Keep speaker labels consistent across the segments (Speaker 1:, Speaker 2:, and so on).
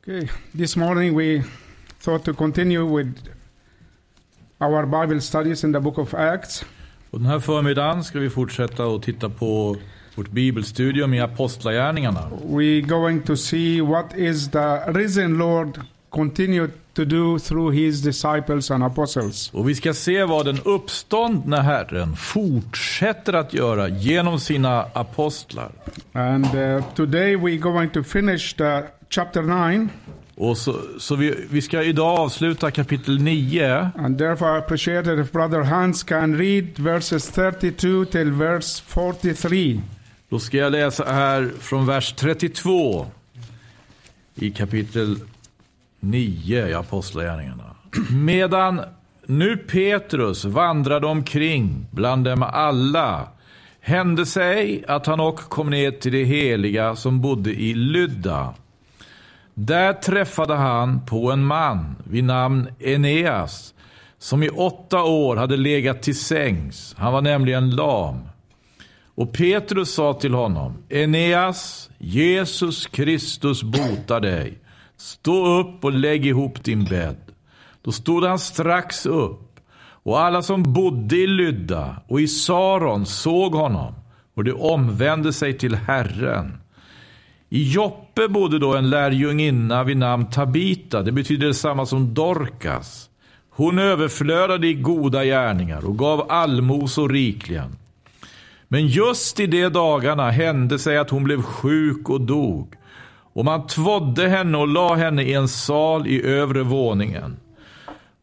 Speaker 1: Okay, this morning we thought to continue with our Bible studies in the book of Acts.
Speaker 2: Och den här förmiddagen ska vi fortsätta och titta på vårt bibelstudium i Apostlagärningarna.
Speaker 1: We're going to see what is the risen Lord continued to do through his disciples and apostles.
Speaker 2: Och vi ska se vad den uppståndne Herren fortsätter att göra genom sina apostlar.
Speaker 1: And uh, today we're going to finish the chapter 9
Speaker 2: Och så, så vi, vi ska idag avsluta kapitel 9.
Speaker 1: and therefore I appreciate it if brother Hans can read verses 32 till verse 43.
Speaker 2: Då ska jag läsa här från vers 32 i kapitel 9 i Apostlagärningarna. Medan nu Petrus vandrade omkring bland dem alla hände sig att han och kom ner till de heliga som bodde i Lydda. Där träffade han på en man vid namn Eneas som i åtta år hade legat till sängs. Han var nämligen lam. Och Petrus sa till honom, Eneas, Jesus Kristus botar dig. Stå upp och lägg ihop din bädd. Då stod han strax upp, och alla som bodde i Lydda och i Saron såg honom, och de omvände sig till Herren. I Joppe bodde då en lärjunginna vid namn Tabita, det betyder detsamma som Dorkas. Hon överflödade i goda gärningar och gav allmosor rikligen. Men just i de dagarna hände sig att hon blev sjuk och dog. Och man tvådde henne och la henne i en sal i övre våningen.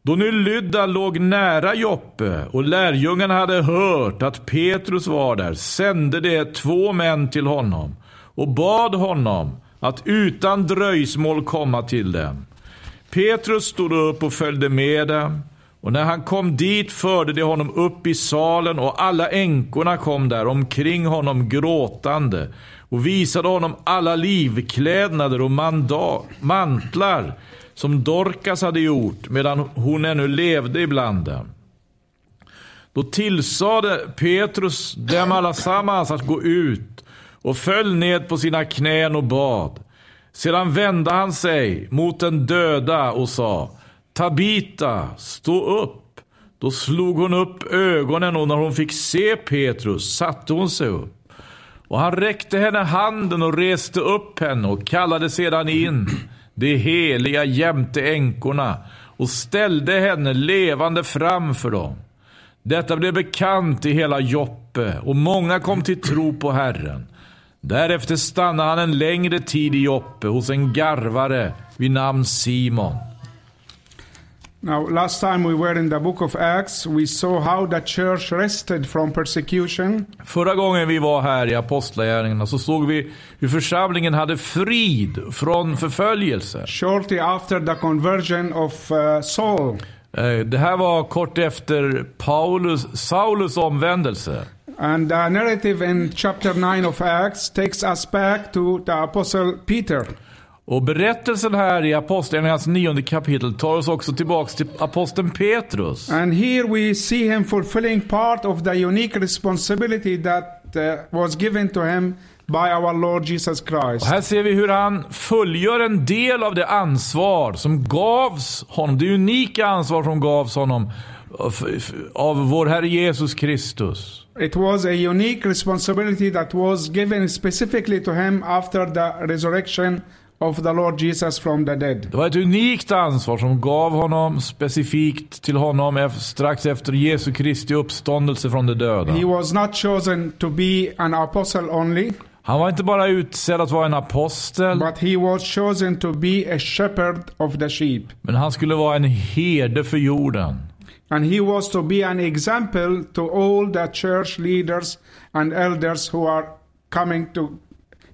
Speaker 2: Då nu Lydda låg nära Joppe och lärjungarna hade hört att Petrus var där sände de två män till honom och bad honom att utan dröjsmål komma till dem. Petrus stod upp och följde med dem, och när han kom dit förde de honom upp i salen, och alla änkorna kom där omkring honom gråtande och visade honom alla livklädnader och manda- mantlar som Dorcas hade gjort medan hon ännu levde ibland dem. Då tillsade Petrus dem allasammans att gå ut och föll ned på sina knän och bad. Sedan vände han sig mot den döda och sa Tabita, stå upp. Då slog hon upp ögonen och när hon fick se Petrus satte hon sig upp. Och han räckte henne handen och reste upp henne och kallade sedan in de heliga jämte änkorna och ställde henne levande framför dem. Detta blev bekant i hela Joppe och många kom till tro på Herren. Därefter stannade han en längre tid i Joppe hos en garvare vid namn Simon.
Speaker 1: Now, last time we were in the book of Acts, we saw how the church rested from persecution
Speaker 2: Förra gången vi var här i Apostlagärningarna så såg vi hur församlingen hade frid från förföljelse.
Speaker 1: shortly after the conversion of uh, Saul.
Speaker 2: Eh, Det här var kort efter Paulus, Saulus omvändelse.
Speaker 1: And the narrative in chapter 9 of Acts takes us back to the apostle Peter.
Speaker 2: Och berättelsen här i Apostlagärningarnas nionde kapitel tar oss också tillbaks till aposteln Petrus.
Speaker 1: And here we see him fulfilling part of the unique responsibility that uh, was given to him by our Lord Jesus Christ.
Speaker 2: Och här ser vi hur han fullgör en del av det ansvar som gavs honom. Det unika ansvar som gavs honom av- av vår Herre Jesus Kristus.
Speaker 1: It was a unique responsibility that was given specifically to him after the resurrection of the Lord Jesus from the dead.
Speaker 2: Det var ett unikt ansvar som gav honom specifikt till honom ef- strax efter Jesu Kristi uppståndelse från de döda.
Speaker 1: He was not chosen to be an apostle only,
Speaker 2: Han var inte bara utsedd att vara en apostel,
Speaker 1: but he was chosen to be a shepherd of the sheep.
Speaker 2: men han skulle vara en herde för jorden.
Speaker 1: And he was to be an example to all the church leaders and elders who are coming to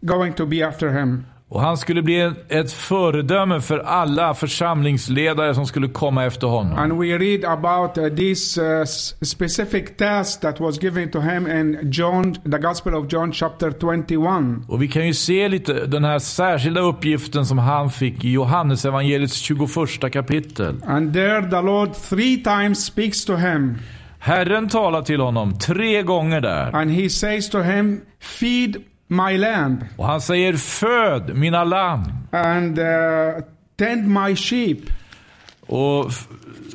Speaker 1: going to be after him.
Speaker 2: Och han skulle bli en- ett föredöme för alla församlingsledare som skulle komma efter honom.
Speaker 1: And we read about uh, this uh, s- specific task that was given to him in John, the Gospel of John, chapter 21.
Speaker 2: Och vi kan ju se lite den här särskilda uppgiften som han fick i Johannesevangeliets 21 kapitel.
Speaker 1: And there the Lord three times speaks to him,
Speaker 2: Herren talar till honom tre gånger där.
Speaker 1: and he says to him, Feed my lamb.
Speaker 2: Och han säger Föd mina lamm.
Speaker 1: And uh, Tend my sheep.
Speaker 2: och f-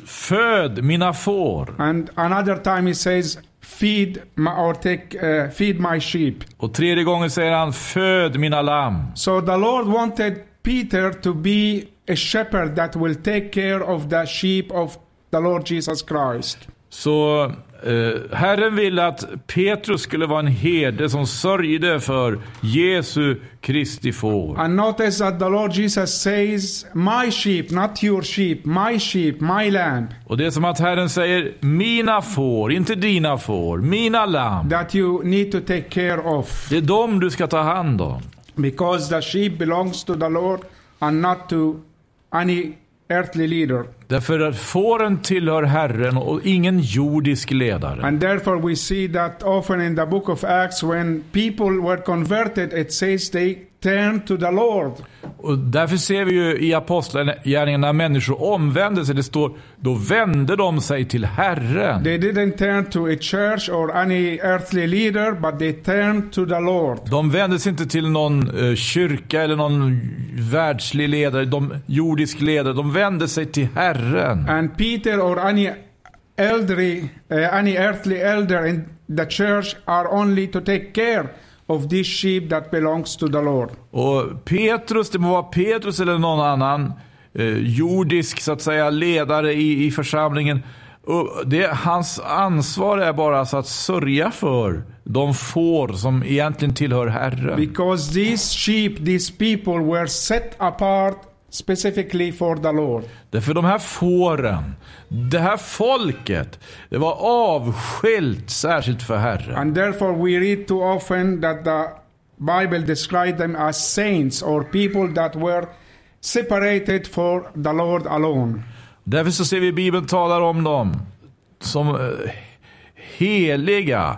Speaker 2: föd mina får.
Speaker 1: And another time he says, feed my, or take, uh, feed my sheep.
Speaker 2: Och tredje gången säger han föd mina lamm.
Speaker 1: So the Lord wanted Peter to be a shepherd that will take care of the sheep of the Lord Jesus Christ.
Speaker 2: Så eh, Herren ville att Petrus skulle vara en herde som sörjde för Jesu Kristi får.
Speaker 1: And notice that the Lord Jesus says, My sheep, not your sheep, my sheep, my lamb,
Speaker 2: Och det är som att Herren säger mina får, inte dina får, mina lamm.
Speaker 1: that you need to take care of.
Speaker 2: Det är dem du ska ta hand om.
Speaker 1: Because the sheep belongs to the Lord and not to any earthly leader.
Speaker 2: Därför att fåren tillhör Herren och ingen jordisk ledare.
Speaker 1: And therefore, we see that often in the book of Acts, when people were converted, it says they turned to the Lord.
Speaker 2: Och därför ser vi ju i apostlagärningarna när människor omvände sig. Det står, då vände de sig till Herren.
Speaker 1: They didn't turn to a church or any earthly leader, but they turned to the Lord.
Speaker 2: De vände sig inte till någon eh, kyrka eller någon världslig ledare, de, jordisk ledare. De vände sig till Herren.
Speaker 1: And Peter or any elderly, uh, any earthly elder in the church are only to take care of this sheep that belongs to the Lord.
Speaker 2: Och Petrus, det må vara Petrus eller någon annan eh, jordisk så att säga ledare i, i församlingen. Och det, hans ansvar är bara alltså att sörja för de får som egentligen tillhör Herren.
Speaker 1: Because these sheep, these people were set apart specifically för the Lord.
Speaker 2: Därför de här fåren, det här folket, det var avskilt särskilt för Herren.
Speaker 1: And therefore we read too often that the Bible describes them as saints or people that were separated for the Lord alone.
Speaker 2: Därför så ser vi Bibeln talar om dem som eh, heliga.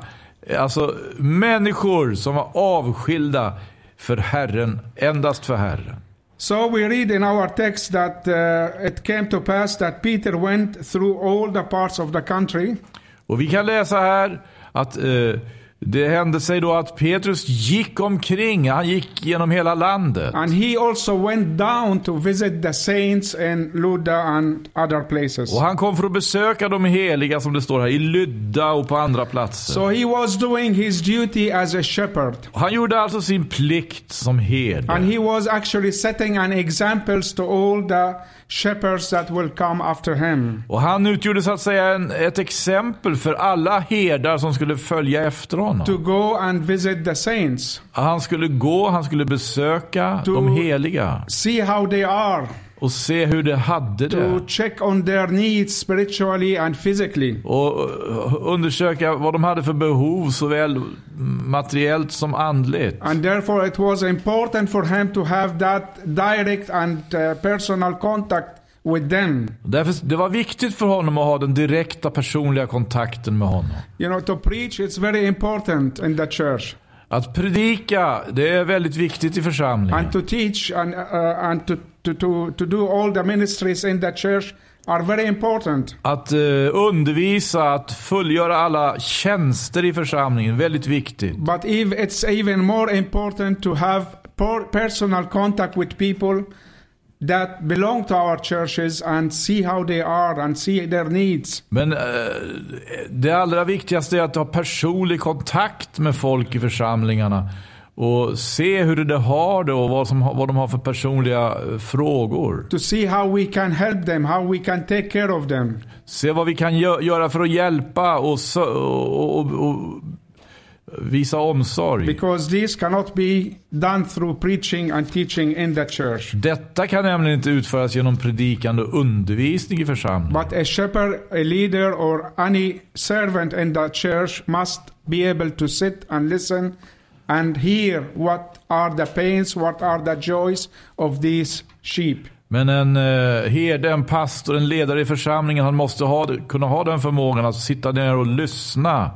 Speaker 2: Alltså människor som var avskilda för Herren, endast för Herren.
Speaker 1: So we read in our text that uh, it came to pass that Peter went through all the parts of the country
Speaker 2: Och vi kan läsa här att eh, det hände sig då att Petrus gick omkring, han gick genom hela landet.
Speaker 1: and he also went down to visit the saints in Luda and other places.
Speaker 2: Och han kom för att besöka de heliga som det står här, i Lydda och på andra platser.
Speaker 1: So he was doing his duty as a shepherd
Speaker 2: Han gjorde alltså sin plikt som herde.
Speaker 1: and he was actually setting an examples to all the shepherds that will come after him.
Speaker 2: Och han utgjorde så att säga en, ett exempel för alla herdar som skulle följa efter
Speaker 1: to
Speaker 2: honom.
Speaker 1: go and visit the saints,
Speaker 2: Han skulle gå, han skulle besöka
Speaker 1: To-
Speaker 2: de heliga
Speaker 1: see how they are,
Speaker 2: och se hur de hade det.
Speaker 1: to check on their needs spiritually and physically.
Speaker 2: Och eh, undersöka vad de hade för behov såväl materiellt som andligt.
Speaker 1: And therefore, it was important for him to have that direct and uh, personal contact with them.
Speaker 2: Därför, det var viktigt för honom att ha den direkta personliga kontakten med honom.
Speaker 1: You know, to preach, it's very important in the church.
Speaker 2: Att predika, det är väldigt viktigt i församlingen.
Speaker 1: And to teach and, uh, and to, to, to, to do all the ministries in the church are very important.
Speaker 2: Att eh, undervisa, att fullgöra alla tjänster i församlingen, väldigt viktigt.
Speaker 1: But if it's even more important to have per- personal contact with people that belong to our churches and see how they are and see their needs.
Speaker 2: Men eh, det allra viktigaste är att ha personlig kontakt med folk i församlingarna. Och se hur de har det och vad, som, vad de har för personliga eh, frågor.
Speaker 1: To see how we can help them, how we can take care of them.
Speaker 2: Se vad vi kan gö- göra för att hjälpa och, sö- och, och, och visa omsorg.
Speaker 1: Because this cannot be done through preaching and teaching in the church.
Speaker 2: Detta kan nämligen inte utföras genom predikande och undervisning i församlingen.
Speaker 1: But a shepherd, a leader, or any servant in the church must be able to sit and listen and hear what are the pains, what are the joys of these sheep.
Speaker 2: Men en eh, herde, en pastor, en ledare i församlingen, han måste ha, kunna ha den förmågan att sitta ner och lyssna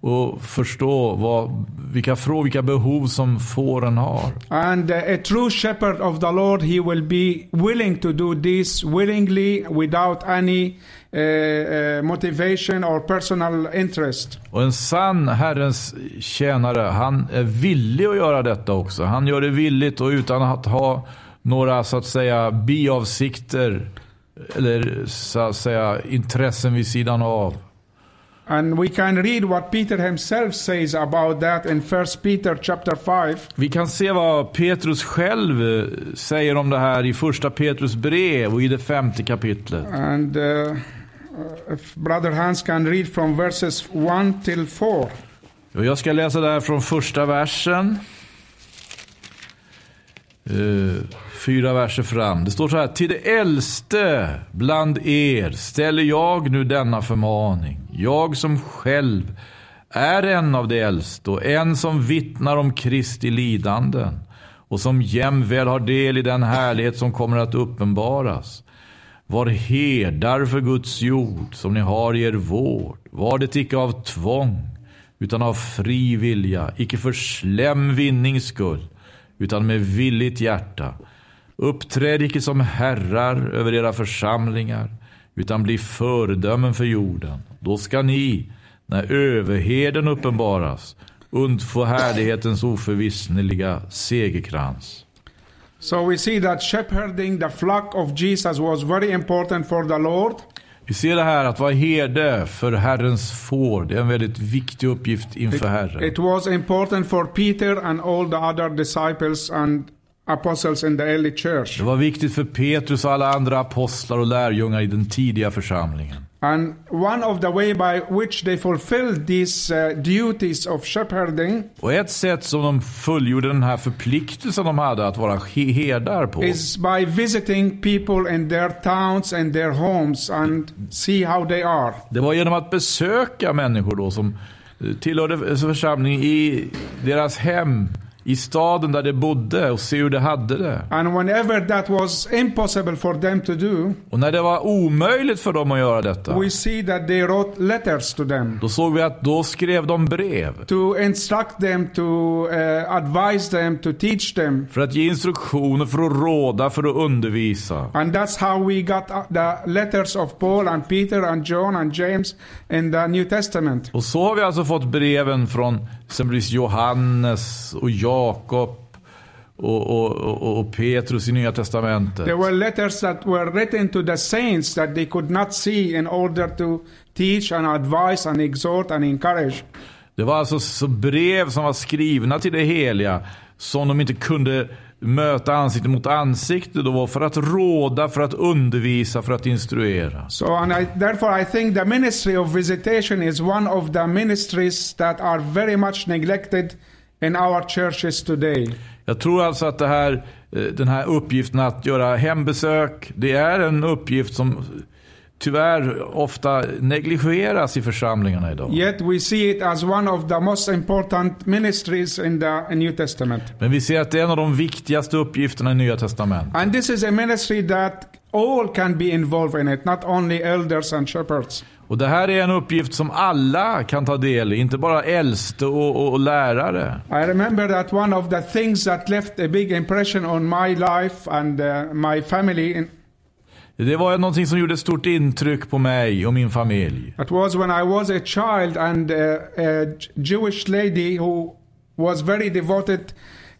Speaker 2: och förstå vad, vilka frågor, vilka behov som fåren har.
Speaker 1: And uh, a true shepherd of the Lord, he will be willing to do this willingly without any uh, uh, motivation or personal interest.
Speaker 2: Och en sann Herrens tjänare, han är villig att göra detta också. Han gör det villigt och utan att ha några så att säga biavsikter eller så att säga intressen vid sidan av.
Speaker 1: And we can read what Peter himself says about that in 1 Peter chapter 5.
Speaker 2: Vi kan se vad Petrus själv eh, säger om det här i första Petrus brev och i det femte kapitlet.
Speaker 1: And uh, uh, if Brother Hans can read from verses 1 till 4.
Speaker 2: Och jag ska läsa det här från första versen. Eh, fyra verser fram. Det står så här. Till det äldste bland er ställer jag nu denna förmaning. Jag som själv är en av de äldste och en som vittnar om Kristi lidanden och som jämväl har del i den härlighet som kommer att uppenbaras. Var herdar för Guds jord som ni har i er vård. Var det icke av tvång, utan av fri vilja, icke för slem vinnings skull, utan med villigt hjärta. Uppträd icke som herrar över era församlingar, utan bli föredömen för jorden. Då ska ni, när överheden uppenbaras, undfå härlighetens oförvissneliga segerkrans.
Speaker 1: So we see that shepherding the flock of Jesus was very important for the Lord.
Speaker 2: Vi ser det här att vara herde för Herrens får. Det är en väldigt viktig uppgift inför Herren.
Speaker 1: It was important for Peter and all the other disciples and apostles in the early church.
Speaker 2: Det var viktigt för Petrus och alla andra apostlar och lärjungar i den tidiga församlingen.
Speaker 1: And one of the way by which they fulfilled these uh, duties of shepherding
Speaker 2: Och ett sätt som de fullgjorde den här förpliktelsen de hade att vara he- herdar på.
Speaker 1: is by visiting people in their towns and their homes and see how they are.
Speaker 2: Det var genom att besöka människor då som eh, tillhörde församlingen i deras hem, i staden där de bodde och se hur de hade det.
Speaker 1: And whenever that was impossible for them to do,
Speaker 2: Och när det var omöjligt för dem att göra detta,
Speaker 1: we see that they wrote letters to them
Speaker 2: då såg vi att då skrev de brev.
Speaker 1: to instruct them, to uh, advise them, to teach them.
Speaker 2: För att ge instruktioner, för att råda, för att undervisa.
Speaker 1: And that's how we got uh, the letters of Paul and Peter and John and James in the New Testament.
Speaker 2: Och så har vi alltså fått breven från exempelvis Johannes och Jakob och, och, och, och Petrus i Nya Testamentet.
Speaker 1: There were letters that were written to the saints that they could not see in order to teach and advise and exhort and encourage.
Speaker 2: Det var alltså så brev som var skrivna till det heliga som de inte kunde möta ansikte mot ansikte då för att råda, för att undervisa, för att instruera.
Speaker 1: So, and I, therefore, I think the ministry of visitation is one of the ministries that are very much neglected in our churches today.
Speaker 2: Jag tror alltså att det här, eh, den här uppgiften att göra hembesök, det är en uppgift som tyvärr ofta negligeras i församlingarna idag.
Speaker 1: Yet we see it as one of the most important ministries in the New Testament.
Speaker 2: Men vi ser att det är en av de viktigaste uppgifterna i Nya Testamentet.
Speaker 1: And this is a ministry that all can be involved in it, not only elders and shepherds.
Speaker 2: Och det här är en uppgift som alla kan ta del i, inte bara äldste och, och, och lärare.
Speaker 1: I remember that one of the things that left a big impression on my life and uh, my family, in,
Speaker 2: Det var någonting som gjorde ett stort intryck på mig och min familj.
Speaker 1: that was when I was a child and uh, a J- Jewish lady who was very devoted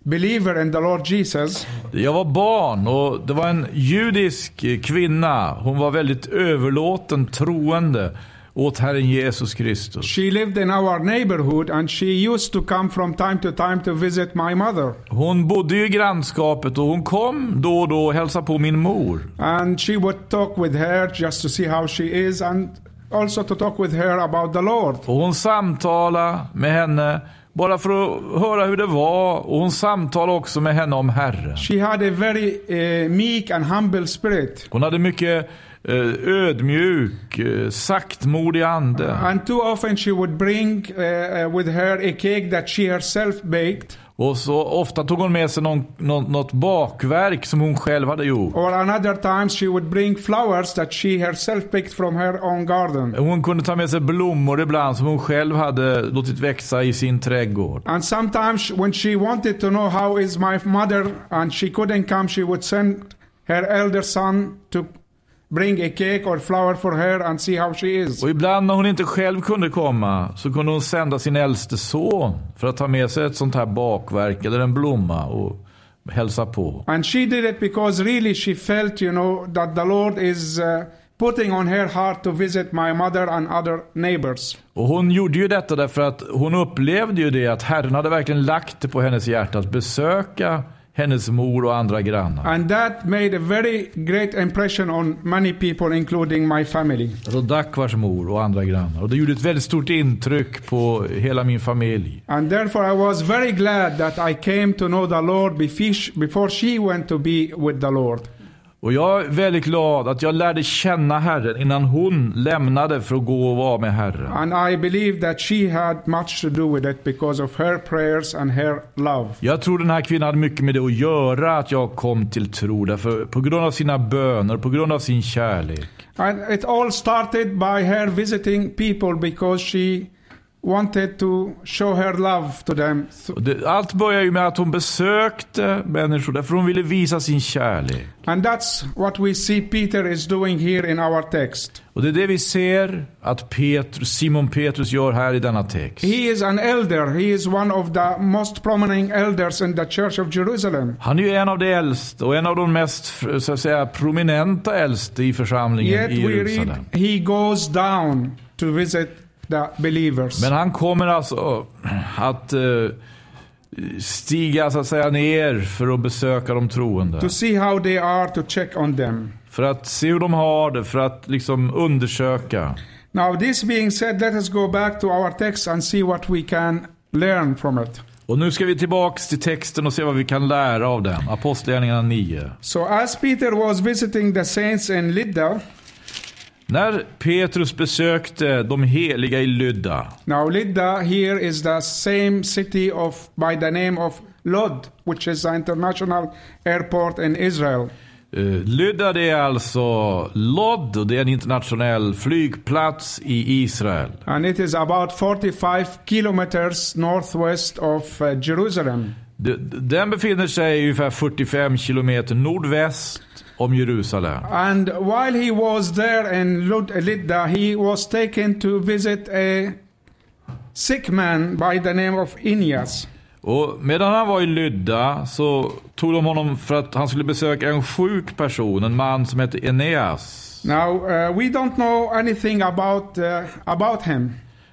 Speaker 1: believer in the Lord Jesus.
Speaker 2: Jag var barn och det var en judisk eh, kvinna. Hon var väldigt överlåten, troende åt Herren Jesus Kristus.
Speaker 1: She lived in our neighborhood and she used to come from time to time to visit my mother.
Speaker 2: Hon bodde ju i grannskapet och hon kom då och då och hälsade på min mor.
Speaker 1: And she would talk with her just to see how she is and also to talk with her about the Lord.
Speaker 2: Och hon samtalade med henne bara för att höra hur det var. Och hon samtalade också med henne om Herren.
Speaker 1: She had a very uh, meek and humble spirit.
Speaker 2: Hon hade mycket eh, ödmjuk, eh, saktmodig ande.
Speaker 1: And too often she would bring uh, uh, with her a cake that she herself baked
Speaker 2: Och så ofta tog hon med sig någon, någon, något bakverk som hon själv hade gjort.
Speaker 1: or another time she would bring flowers that she herself picked from her own garden.
Speaker 2: Hon kunde ta med sig blommor ibland som hon själv hade låtit växa i sin trädgård.
Speaker 1: And sometimes when she wanted to know how is my mother and she couldn't come she would send her elder son to bring a cake or flower for her and see how she is.
Speaker 2: Och ibland när hon inte själv kunde komma så kunde hon sända sin äldste son för att ta med sig ett sånt här bakverk eller en blomma och hälsa på.
Speaker 1: And she did it because really she felt, you know, that the Lord is uh, putting on her heart to visit my mother and other neighbors.
Speaker 2: Och hon gjorde ju detta därför att hon upplevde ju det att Herren hade verkligen lagt det på hennes hjärta att besöka hennes mor och andra grannar.
Speaker 1: And that made a very great impression on many people, including my family.
Speaker 2: Alltså Dakvars mor och andra grannar. Och det gjorde ett väldigt stort intryck på hela min familj.
Speaker 1: And therefore, I was very glad that I came to know the Lord befish- before she went to be with the Lord.
Speaker 2: Och jag är väldigt glad att jag lärde känna Herren innan hon lämnade för att gå och vara med Herren.
Speaker 1: And I believe that she had much to do with it because of her prayers and her love.
Speaker 2: Jag tror den här kvinnan hade mycket med det att göra att jag kom till tro. Därför, på grund av sina böner, på grund av sin kärlek.
Speaker 1: And it all started by her visiting people because she wanted to show her love to them.
Speaker 2: Och det, allt börjar ju med att hon besökte människor därför hon ville visa sin kärlek.
Speaker 1: And that's what we see Peter is doing here in our text.
Speaker 2: Och det är det vi ser att Petrus, Simon Petrus gör här i denna text.
Speaker 1: He is an elder. He is one of the most prominent elders in the Church of Jerusalem.
Speaker 2: Han är ju en av de äldste och en av de mest så att säga, prominenta äldste i församlingen
Speaker 1: Yet
Speaker 2: i
Speaker 1: we
Speaker 2: Jerusalem.
Speaker 1: read he goes down to visit the believers.
Speaker 2: Men han kommer alltså att eh, stiga så att säga ner för att besöka de troende.
Speaker 1: to see how they are, to check on them.
Speaker 2: För att se hur de har det, för att liksom undersöka.
Speaker 1: Now, this being said, let us go back to our text and see what we can learn from it.
Speaker 2: Och nu ska vi tillbaks till texten och se vad vi kan lära av den. Apostlagärningarna 9.
Speaker 1: So, as Peter was visiting the saints in Lydda,
Speaker 2: När Petrus besökte de heliga i Lydda.
Speaker 1: now Lydda here is the same city of by the name of Lod, which is the international airport in Israel.
Speaker 2: Eh, Lydda det är alltså Lod och det är en internationell flygplats i Israel.
Speaker 1: And it is about 45 kilometers northwest of uh, Jerusalem.
Speaker 2: D- d- Den befinner sig ungefär 45 kilometer nordväst om Jerusalem.
Speaker 1: And while he was there in Lod- Lydda, he was taken to visit a sick man by the name of Aeneas.
Speaker 2: Och medan han var i Lydda så tog de honom för att han skulle besöka en sjuk person, en man som hette Eneas.
Speaker 1: Now, uh, we don't know anything about, uh, about him.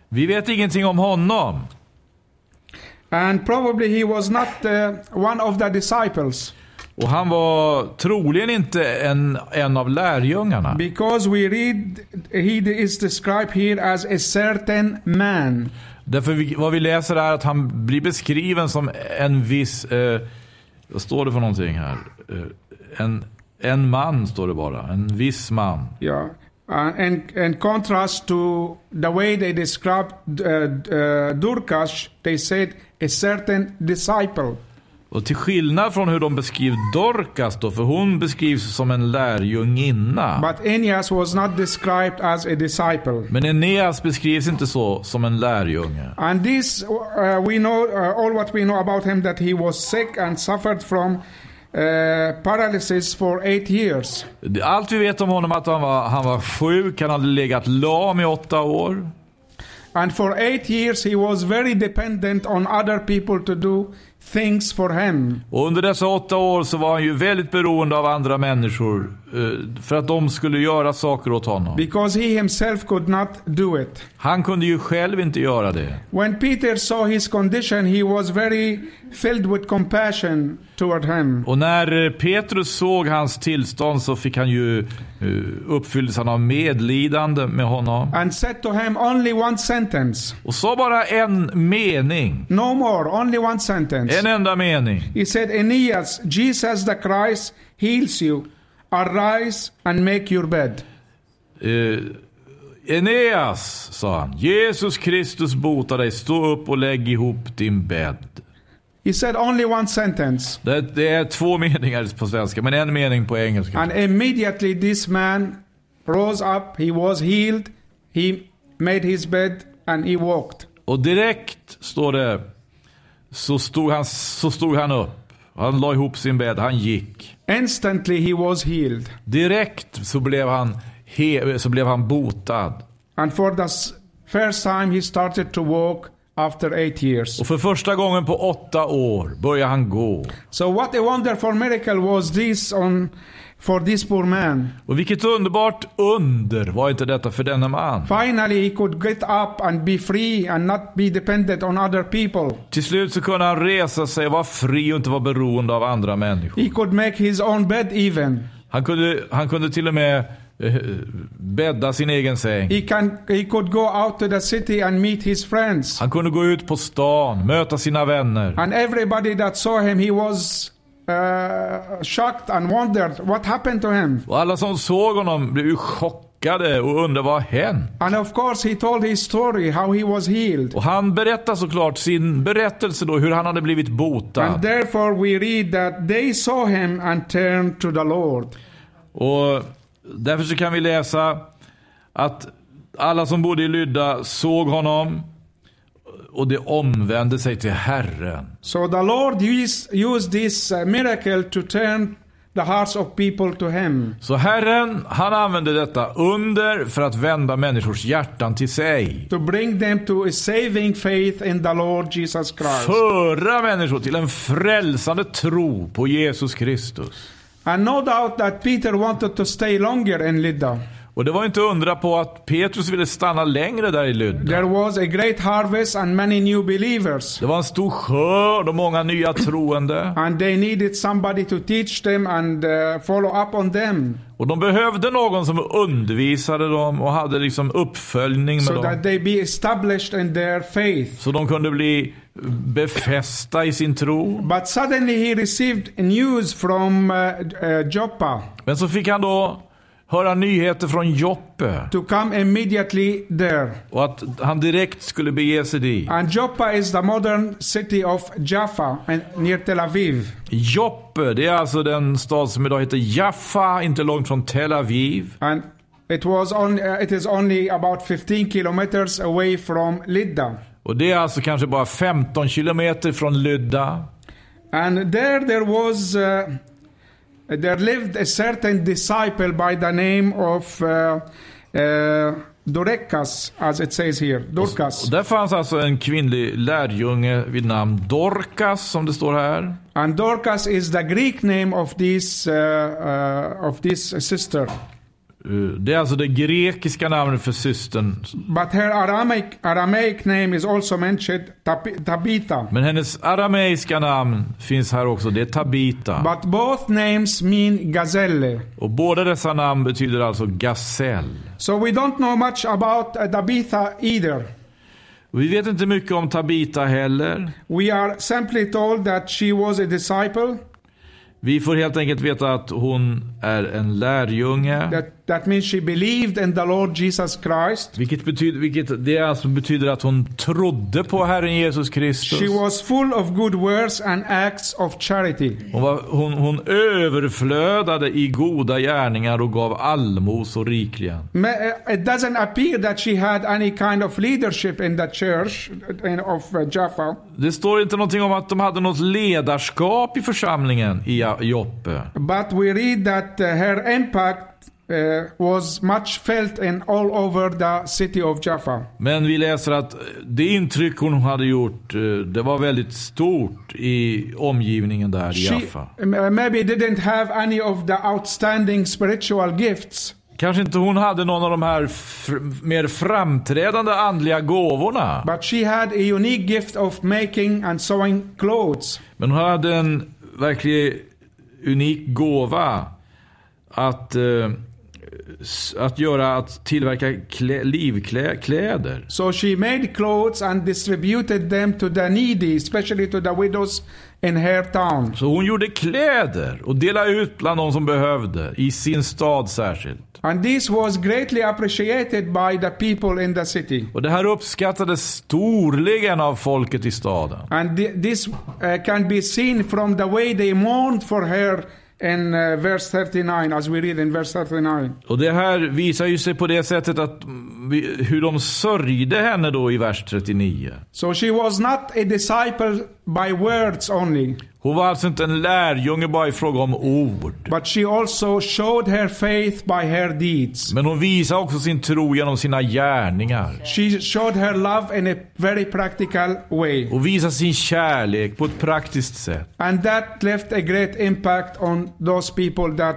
Speaker 2: Vi vet ingenting om honom.
Speaker 1: And probably he was not uh, one of the disciples
Speaker 2: Och han var troligen inte en, en av lärjungarna.
Speaker 1: because we read he is described here as a certain man.
Speaker 2: Därför vi, vad vi läser är att han blir beskriven som en viss... Eh, vad står det för någonting här? Eh, en, en man står det bara. En viss man.
Speaker 1: Yeah. Uh, and in contrast to the way they described uh, uh, Durkash, they said a certain disciple.
Speaker 2: Och till skillnad från hur de beskriver Dorcas då, för hon beskrivs som en lärjunginna.
Speaker 1: But Aeneas was not described as a disciple.
Speaker 2: Men Eneas beskrivs inte så, som en lärjunge.
Speaker 1: And this, uh, we know uh, all what we know about him that he was sick and suffered from uh, paralysis for eight years.
Speaker 2: Allt vi vet om honom är att han var, han var sjuk, han hade legat lam i åtta år.
Speaker 1: And for eight years, he was very dependent on other people to do things for him.
Speaker 2: Och under dessa åtta år så var han ju väldigt beroende av andra människor eh, för att de skulle göra saker åt honom.
Speaker 1: Because he himself could not do it.
Speaker 2: Han kunde ju själv inte göra det.
Speaker 1: When Peter saw his condition, he was very filled with compassion toward him.
Speaker 2: Och när eh, Petrus såg hans tillstånd så fick han ju eh, uppfyllelsen av medlidande med honom.
Speaker 1: And said to him only one sentence.
Speaker 2: Och sa bara en mening.
Speaker 1: No more, only one sentence.
Speaker 2: En enda mening.
Speaker 1: He said, Aeneas, Jesus the Christ heals you. Arise and make your bed.
Speaker 2: Eh, Eneas, sa han. Jesus Kristus botar dig. Stå upp och lägg ihop din bädd.
Speaker 1: He said only one sentence.
Speaker 2: Det, det är två meningar på svenska, men en mening på engelska.
Speaker 1: And immediately this man rose up. He was healed. He made his bed and he walked.
Speaker 2: Och direkt, står det, så stod, han, så stod han upp. Han la ihop sin bädd, han gick.
Speaker 1: Instantly he was healed.
Speaker 2: Direkt så blev han, he, så blev han botad.
Speaker 1: And for the s- first time he started to walk after eight years.
Speaker 2: Och för första gången på åtta år börjar han gå.
Speaker 1: So what a wonderful miracle was this on for this poor man.
Speaker 2: Och vilket underbart under var inte detta för denna man.
Speaker 1: Finally he could get up and be free and not be dependent on other people.
Speaker 2: Till slut så kunde han resa sig och vara fri och inte vara beroende av andra människor.
Speaker 1: He could make his own bed even.
Speaker 2: Han kunde, han kunde till och med eh, bädda sin egen säng.
Speaker 1: He can he could go out to the city and meet his friends.
Speaker 2: Han kunde gå ut på stan, möta sina vänner.
Speaker 1: And everybody that saw him he was uh, shocked and wondered what happened to him.
Speaker 2: Och alla som såg honom blev ju chockade och undrade vad har hänt?
Speaker 1: And of course he told his story how he was healed.
Speaker 2: Och han berättar såklart sin berättelse då hur han hade blivit botad.
Speaker 1: And therefore we read that they saw him and turned to the Lord.
Speaker 2: Och därför så kan vi läsa att alla som bodde i Lydda såg honom och det omvände sig till Herren.
Speaker 1: So the Lord used, used this uh, miracle to turn the hearts of people to Him.
Speaker 2: Så Herren, han använde detta under för att vända människors hjärtan till sig.
Speaker 1: To bring them to a saving faith in the Lord Jesus Christ.
Speaker 2: Föra människor till en frälsande tro på Jesus Kristus.
Speaker 1: And no doubt that Peter wanted to stay longer in Lydda.
Speaker 2: Och det var inte undra på att Petrus ville stanna längre där i Lydda.
Speaker 1: There was a great harvest and many new believers.
Speaker 2: Det var en stor skörd och många nya troende.
Speaker 1: And they needed somebody to teach them and uh, follow up on them
Speaker 2: Och de behövde någon som undervisade dem och hade liksom uppföljning med
Speaker 1: so
Speaker 2: dem.
Speaker 1: that they be established in their faith.
Speaker 2: Så de kunde bli befästa i sin tro.
Speaker 1: But suddenly he received news from uh, uh, Joppa
Speaker 2: Men så fick han då höra nyheter från Joppe
Speaker 1: to come immediately there.
Speaker 2: och att han direkt skulle bege sig dit.
Speaker 1: And Joppa is the modern city of Jaffa and near Tel Aviv.
Speaker 2: Joppe, det är alltså den stad som idag heter Jaffa, inte långt från Tel Aviv.
Speaker 1: And it was on, uh, it is only about 15 kilometers away from Lydda.
Speaker 2: Och det är alltså kanske bara 15 kilometer från Lydda.
Speaker 1: And there there was uh, there lived a certain disciple by the name of uh, uh, Dorcas, as it says here,
Speaker 2: Och
Speaker 1: Dorcas.
Speaker 2: där fanns alltså en kvinnlig lärjunge vid namn Dorcas, som det står här.
Speaker 1: And Dorcas is the Greek name of this uh, uh, of this sister.
Speaker 2: Eh, Det är alltså det grekiska namnet för systern.
Speaker 1: But her Aramaic, Aramaic name is also mentioned, Tab- Tabitha.
Speaker 2: Men hennes arameiska namn finns här också. Det är Tabita.
Speaker 1: But both names mean gazelle.
Speaker 2: Och båda dessa namn betyder alltså gasell.
Speaker 1: So we don't know much about uh, Tabitha either.
Speaker 2: Och Vi vet inte mycket om Tabita heller.
Speaker 1: We are simply told that she was a disciple.
Speaker 2: Vi får helt enkelt veta att hon är en lärjunge.
Speaker 1: That, that means she believed in the Lord Jesus Christ.
Speaker 2: Vilket, betyder, vilket det alltså betyder att hon trodde på Herren Jesus
Speaker 1: She
Speaker 2: Kristus.
Speaker 1: was full of good works and acts of charity.
Speaker 2: Hon, var, hon, hon överflödade i goda gärningar och gav allmosor rikligen.
Speaker 1: Ma- uh, It doesn't appear that she had any kind of leadership in the church uh, in- of uh, Jaffa,
Speaker 2: Det står inte någonting om att de hade något ledarskap i församlingen i Ja- Joppe.
Speaker 1: but we read that uh, her impact uh, was much felt in all over the city of Jaffa.
Speaker 2: Men vi läser att det intryck hon hade gjort, eh, det var väldigt stort i omgivningen där i
Speaker 1: She
Speaker 2: Jaffa.
Speaker 1: m- uh, maybe didn't have any of the outstanding spiritual gifts,
Speaker 2: Kanske inte hon hade någon av de här fr- mer framträdande andliga gåvorna.
Speaker 1: but she had a unique gift of making and sewing clothes.
Speaker 2: Men hon hade en verkligen unik gåva. Att, eh, s- att göra, att tillverka klä, livkläder.
Speaker 1: So she made clothes and distributed them to the needy, especially to the widows in her town.
Speaker 2: Så hon gjorde kläder och delade ut bland de som behövde. I sin stad särskilt.
Speaker 1: And this was greatly appreciated by the people in the city.
Speaker 2: Och det här uppskattades storligen av folket i staden.
Speaker 1: And thi- this uh, can be seen from the way they mourned for her in uh, verse 39, as we read in verse 39.
Speaker 2: Och det här visar ju sig på det sättet att mm, vi- hur de sörjde henne då i vers 39.
Speaker 1: So she was not a disciple by words only,
Speaker 2: Hon var alltså inte en lärjunge bara i fråga om ord.
Speaker 1: but she also showed her faith by her deeds.
Speaker 2: Men hon visade också sin tro genom sina gärningar.
Speaker 1: She showed her love in a very practical way,
Speaker 2: Och visade sin kärlek på ett praktiskt sätt.
Speaker 1: and that left a great impact on those people that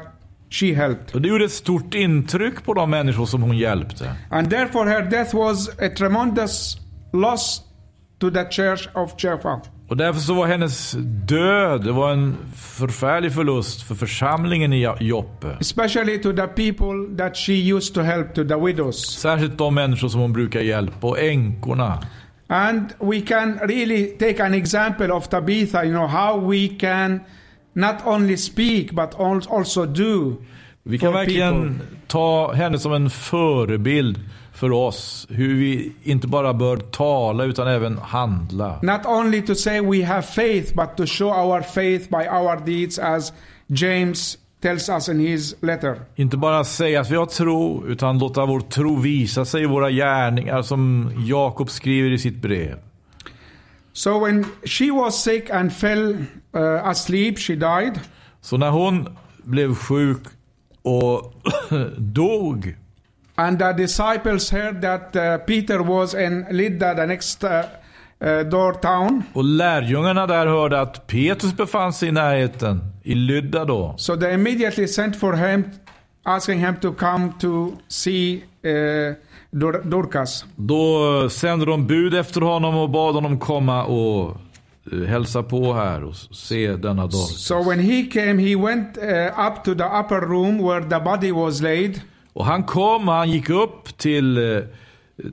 Speaker 1: she helped.
Speaker 2: Och det gjorde ett stort intryck på de människor som hon hjälpte.
Speaker 1: And therefore, her death was a tremendous loss to the church of Jaffa.
Speaker 2: Och därför så var hennes död det var en förfärlig förlust för församlingen i Ja- Joppe.
Speaker 1: especially to the people that she used to help, to the widows.
Speaker 2: Särskilt de människor som hon brukar hjälpa och änkorna.
Speaker 1: And we can really take an example of Tabitha, you know, how we can not only speak but al- also do.
Speaker 2: Vi kan
Speaker 1: for
Speaker 2: verkligen
Speaker 1: people.
Speaker 2: ta henne som en förebild för oss. Hur vi inte bara bör tala utan även handla.
Speaker 1: Not only to say we have faith, but to show our faith by our deeds, as James tells us in his letter.
Speaker 2: Inte bara säga att vi har tro, utan låta vår tro visa sig i våra gärningar som Jakob skriver i sitt brev.
Speaker 1: So when she was sick and fell uh, asleep, she died.
Speaker 2: Så när hon blev sjuk och dog
Speaker 1: And the disciples heard that uh, Peter was in Lydda, the next uh, uh, door town.
Speaker 2: och lärjungarna där hörde att Petrus befann sig i närheten, i Lydda då.
Speaker 1: So they immediately sent for him, asking him to come to see uh, Dur- Dorcas.
Speaker 2: Då sände de bud efter honom och bad honom komma och eh, hälsa på här och s- se denna dag.
Speaker 1: So when he came, he went uh, up to the upper room where the body was laid,
Speaker 2: Och han kom, han gick upp till, eh,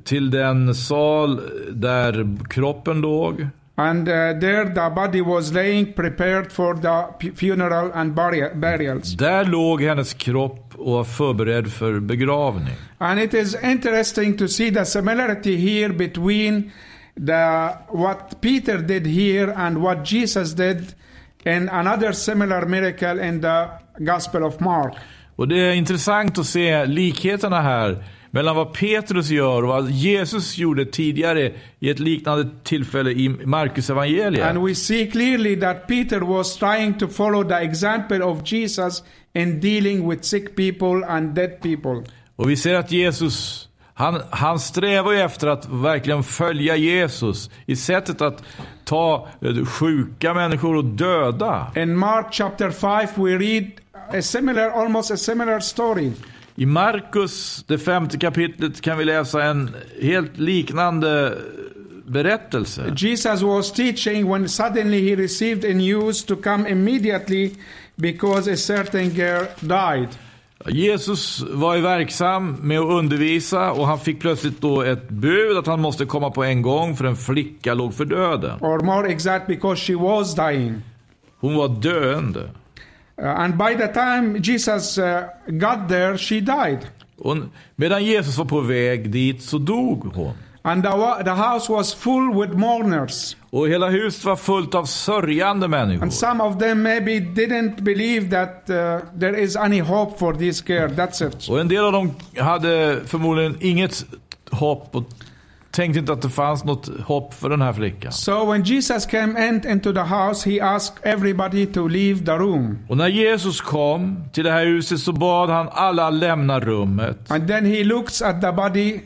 Speaker 2: till den sal där kroppen låg.
Speaker 1: and uh, there the body was laying prepared for the pu- funeral and burial- burials.
Speaker 2: Där låg hennes kropp och var förberedd för begravning.
Speaker 1: And it is interesting to see the similarity here between the what Peter did here and what Jesus did in another similar miracle in the Gospel of Mark.
Speaker 2: Och det är intressant att se likheterna här mellan vad Petrus gör och vad Jesus gjorde tidigare i ett liknande tillfälle i Markus evangeliet.
Speaker 1: And we see clearly that Peter was trying to follow the example of Jesus in dealing with sick people and dead people.
Speaker 2: Och vi ser att Jesus, han, han strävar ju efter att verkligen följa Jesus i sättet att ta eh, sjuka människor och döda.
Speaker 1: In Mark chapter 5, we read a similar, almost a similar story.
Speaker 2: I Markus, det femte kapitlet, kan vi läsa en helt liknande berättelse.
Speaker 1: Jesus was teaching when suddenly he received a news to come immediately because a certain girl died.
Speaker 2: Jesus var ju verksam med att undervisa och han fick plötsligt då ett bud att han måste komma på en gång för en flicka låg för döden.
Speaker 1: Or more exact, because she was dying.
Speaker 2: Hon var döende.
Speaker 1: Uh, and by the time Jesus uh, got there, she died.
Speaker 2: Och medan Jesus var på väg dit så dog hon.
Speaker 1: And the, wa- the house was full with mourners.
Speaker 2: Och hela huset var fullt av sörjande människor.
Speaker 1: And some of them maybe didn't believe that uh, there is any hope for this girl. That's it.
Speaker 2: Och en del av dem hade förmodligen inget hopp och tänkte inte att det fanns något hopp för den här flickan.
Speaker 1: So when Jesus came in into the house, he asked everybody to leave the room.
Speaker 2: Och när Jesus kom till det här huset så bad han alla lämna rummet.
Speaker 1: And then he looks at the body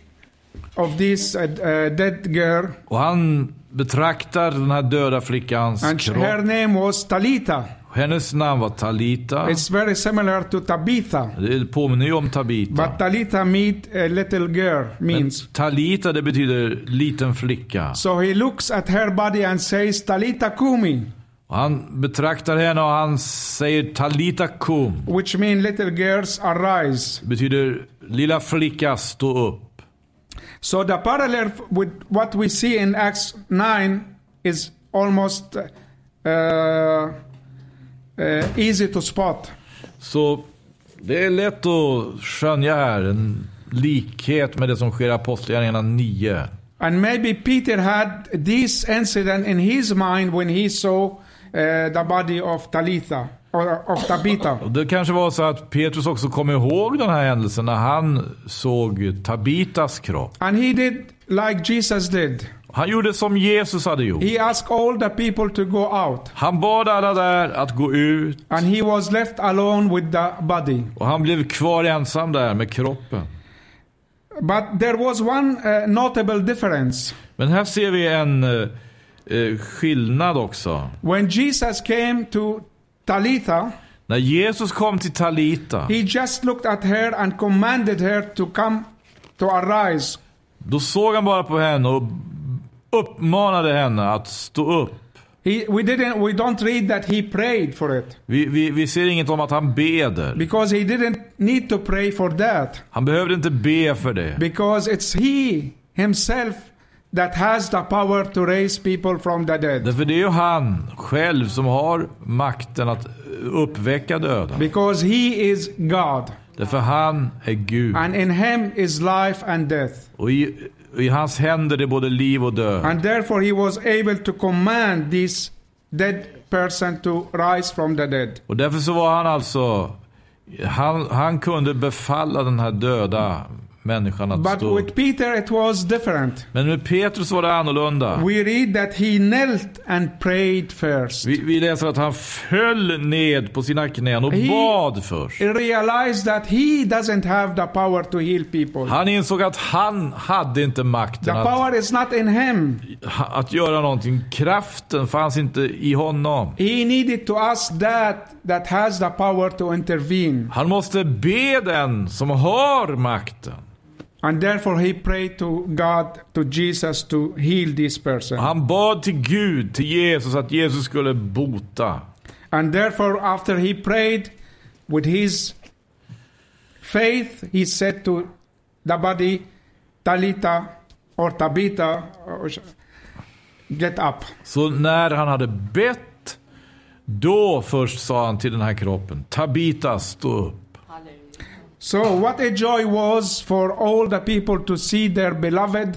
Speaker 1: of this uh, uh, dead girl,
Speaker 2: Och han betraktar den här döda flickans
Speaker 1: and sh-
Speaker 2: kropp.
Speaker 1: her name was Talitha.
Speaker 2: Hennes namn var Talita.
Speaker 1: It's very similar to Tabitha,
Speaker 2: Det påminner ju om Tabita.
Speaker 1: but Talitha meet a little girl means.
Speaker 2: Ah. Talita det betyder liten flicka.
Speaker 1: So he looks at her body and says, Talitha Kumi,
Speaker 2: Och han betraktar henne och han säger Talita kum.
Speaker 1: which means little girls arise.
Speaker 2: Det betyder lilla flicka stå upp.
Speaker 1: So the parallel f- with what we see in Acts 9 is almost uh, uh, easy to spot.
Speaker 2: Så det är lätt att skönja här en likhet med det som sker i Apostlagärningarna 9.
Speaker 1: And maybe Peter had this incident in his mind when he saw uh, the body of Talitha or of Tabitha.
Speaker 2: Och det kanske var så att Petrus också kom ihåg den här händelsen när han såg Tabitas kropp.
Speaker 1: And he did like Jesus did.
Speaker 2: Han gjorde som Jesus hade gjort.
Speaker 1: He asked all the people to go out,
Speaker 2: Han bad alla där att gå ut
Speaker 1: and he was left alone with the body.
Speaker 2: och han blev kvar ensam där med kroppen.
Speaker 1: But there was one uh, notable difference.
Speaker 2: Men här ser vi en eh, eh, skillnad också.
Speaker 1: When Jesus came to Talitha,
Speaker 2: När Jesus kom till Talita,
Speaker 1: he just looked at her and commanded her to come, to arise.
Speaker 2: då såg han bara på henne och uppmanade henne att stå upp.
Speaker 1: He, we didn't. We don't read that he prayed for it
Speaker 2: Vi, vi, vi ser inget om att han beder.
Speaker 1: because he didn't need to pray for that
Speaker 2: Han behövde inte be för det.
Speaker 1: because it's he himself that has the power to raise people from the dead.
Speaker 2: Därför det är ju han själv som har makten att uppväcka döda.
Speaker 1: Because he is God,
Speaker 2: Därför han är Gud.
Speaker 1: and in him is life and death,
Speaker 2: Och i, i hans händer är både liv och död.
Speaker 1: and therefore he was able to command this dead person to rise from the dead.
Speaker 2: Och därför så var han alltså... Han, han kunde befalla den här döda människan att
Speaker 1: But
Speaker 2: stå
Speaker 1: with
Speaker 2: upp.
Speaker 1: Peter it was different.
Speaker 2: Men med Petrus var det annorlunda.
Speaker 1: We read that he knelt and prayed first.
Speaker 2: Vi, vi läser att han föll ned på sina knän och
Speaker 1: He-
Speaker 2: bad först.
Speaker 1: He realized that he doesn't have the power to heal people.
Speaker 2: Han insåg att han hade inte
Speaker 1: The
Speaker 2: makten att,
Speaker 1: power is not in him.
Speaker 2: att göra någonting. Kraften fanns inte i honom.
Speaker 1: He needed to ask that that has the power to intervene.
Speaker 2: Han måste be den som har makten.
Speaker 1: And therefore he prayed to God, to Jesus to heal this person.
Speaker 2: Han bad till Gud, till Jesus, att Jesus skulle bota.
Speaker 1: And therefore after he prayed with his faith, he said to the body, Talita or Tabitha, or sh- get up.
Speaker 2: Så när han hade bett, då först sa han till den här kroppen, Tabita, stå upp.
Speaker 1: So, what a joy was for all the people to see their beloved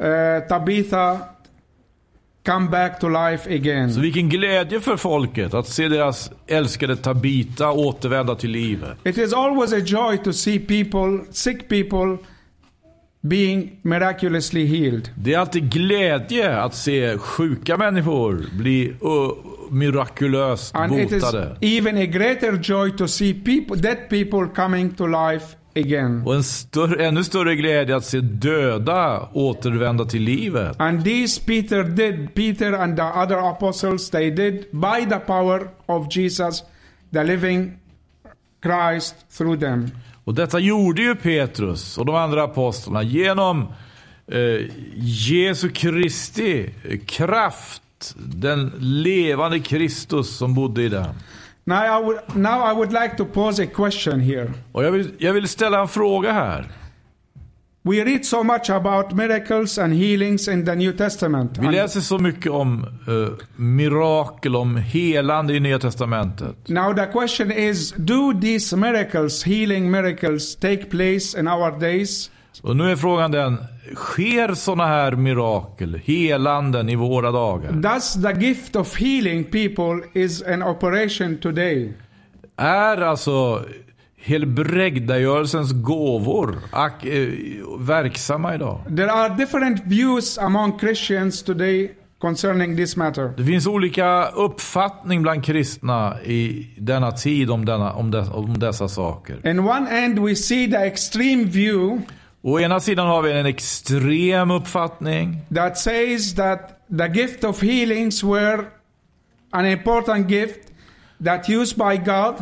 Speaker 1: uh, Tabitha come back to life
Speaker 2: Så
Speaker 1: again.
Speaker 2: vilken glädje för folket att se deras älskade Tabita återvända till livet.
Speaker 1: It is always a joy to see people, sick people, being miraculously healed.
Speaker 2: Det är alltid glädje att se sjuka människor bli ö, mirakulöst
Speaker 1: And it is
Speaker 2: botade.
Speaker 1: even a greater joy to see people, dead people coming to life again.
Speaker 2: Och en större, ännu större glädje att se döda återvända till livet.
Speaker 1: And this Peter did, Peter and the other apostles, they did by the power of Jesus, the living Christ through them.
Speaker 2: Och detta gjorde ju Petrus och de andra apostlarna genom eh, Jesu Kristi kraft. Den levande Kristus som bodde i dem.
Speaker 1: Now I would now I would like to pose a question here.
Speaker 2: Och jag vill, jag vill ställa en fråga här.
Speaker 1: We read so much about miracles and healings in the New Testament.
Speaker 2: Vi
Speaker 1: and
Speaker 2: läser så mycket om eh, mirakel, om helande i Nya Testamentet.
Speaker 1: now the question is, do these miracles, healing miracles, take place in our days?
Speaker 2: Och nu är frågan den, sker sådana här mirakel, helanden i våra dagar?
Speaker 1: Does the gift of healing people is an operation today?
Speaker 2: Är alltså helbrägdagörelsens gåvor ak- eh, verksamma idag?
Speaker 1: There are different views among Christians today concerning this matter.
Speaker 2: Det finns olika uppfattning bland kristna i denna tid om, denna, om, de, om dessa saker.
Speaker 1: In one end we see the extreme view
Speaker 2: Å ena sidan har vi en extrem uppfattning
Speaker 1: that says that the gift of healings were an important gift that used by God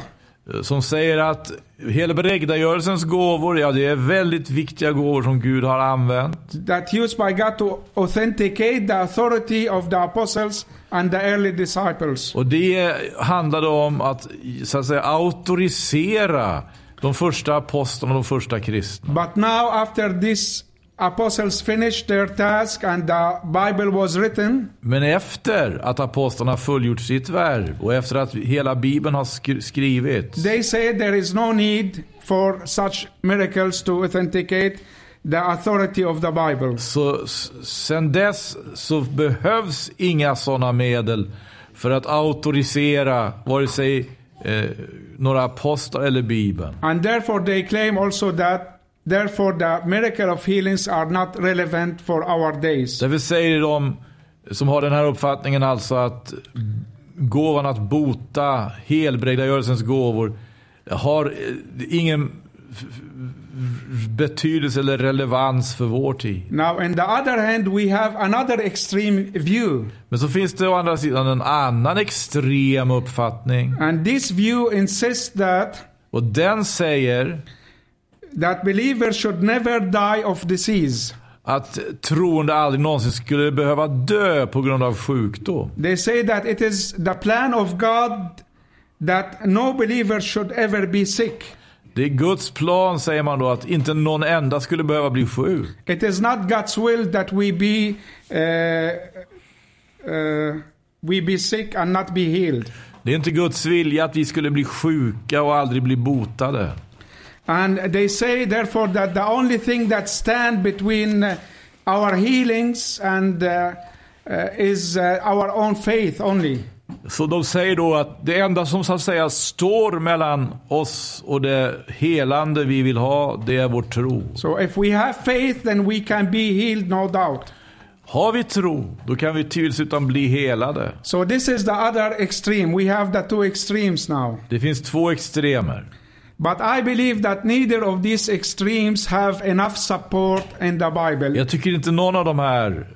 Speaker 2: eh, som säger att helbrägdagörelsens gåvor, ja det är väldigt viktiga gåvor som Gud har använt.
Speaker 1: that used by God to authenticate the authority of the apostles and the early disciples.
Speaker 2: Och det handlade om att, så att säga, auktorisera de första apostlarna och de första kristna.
Speaker 1: But now after these apostles finished their task and the Bible was written,
Speaker 2: Men efter att apostlarna fullgjort sitt värv och efter att hela bibeln har skri- skrivits.
Speaker 1: they say there is no need for such miracles to authenticate the authority of the Bible.
Speaker 2: Så s- sen dess så behövs inga sådana medel för att auktorisera vare sig eh, några apostlar eller bibeln.
Speaker 1: And therefore, they claim also that Therefore, the miracle of healings are not relevant for our days.
Speaker 2: Därför säger de som har den här uppfattningen alltså att gåvan att bota, helbrägdagörelsens gåvor, har eh, ingen f- f- betydelse eller relevans för vår tid.
Speaker 1: Now, on the other hand, we have another extreme view,
Speaker 2: Men så finns det å andra sidan en annan extrem uppfattning.
Speaker 1: and this view insists that
Speaker 2: Och den säger
Speaker 1: that believers should never die of disease.
Speaker 2: att troende aldrig någonsin skulle behöva dö på grund av sjukdom.
Speaker 1: They say that it is the plan of God that no believer should ever be sick.
Speaker 2: Det är Guds plan säger man då att inte någon enda skulle behöva bli sjuk.
Speaker 1: It is not God's will that we be uh, uh, we be sick and not be healed.
Speaker 2: Det är inte Guds vilja att vi skulle bli sjuka och aldrig bli botade.
Speaker 1: And they say, therefore, that the only thing that stand between uh, our healings and uh, uh, is uh, our own faith only.
Speaker 2: Så de säger då att det enda som så att säga står mellan oss och det helande vi vill ha, det är vår tro.
Speaker 1: So if we have faith, then we can be healed, no doubt.
Speaker 2: Har vi tro, då kan vi tvivelsutan bli helade.
Speaker 1: So this is the other extreme. We have the two extremes now.
Speaker 2: Det finns två extremer.
Speaker 1: But I believe that neither of these extremes have enough support in the Bible.
Speaker 2: Jag tycker inte någon av de här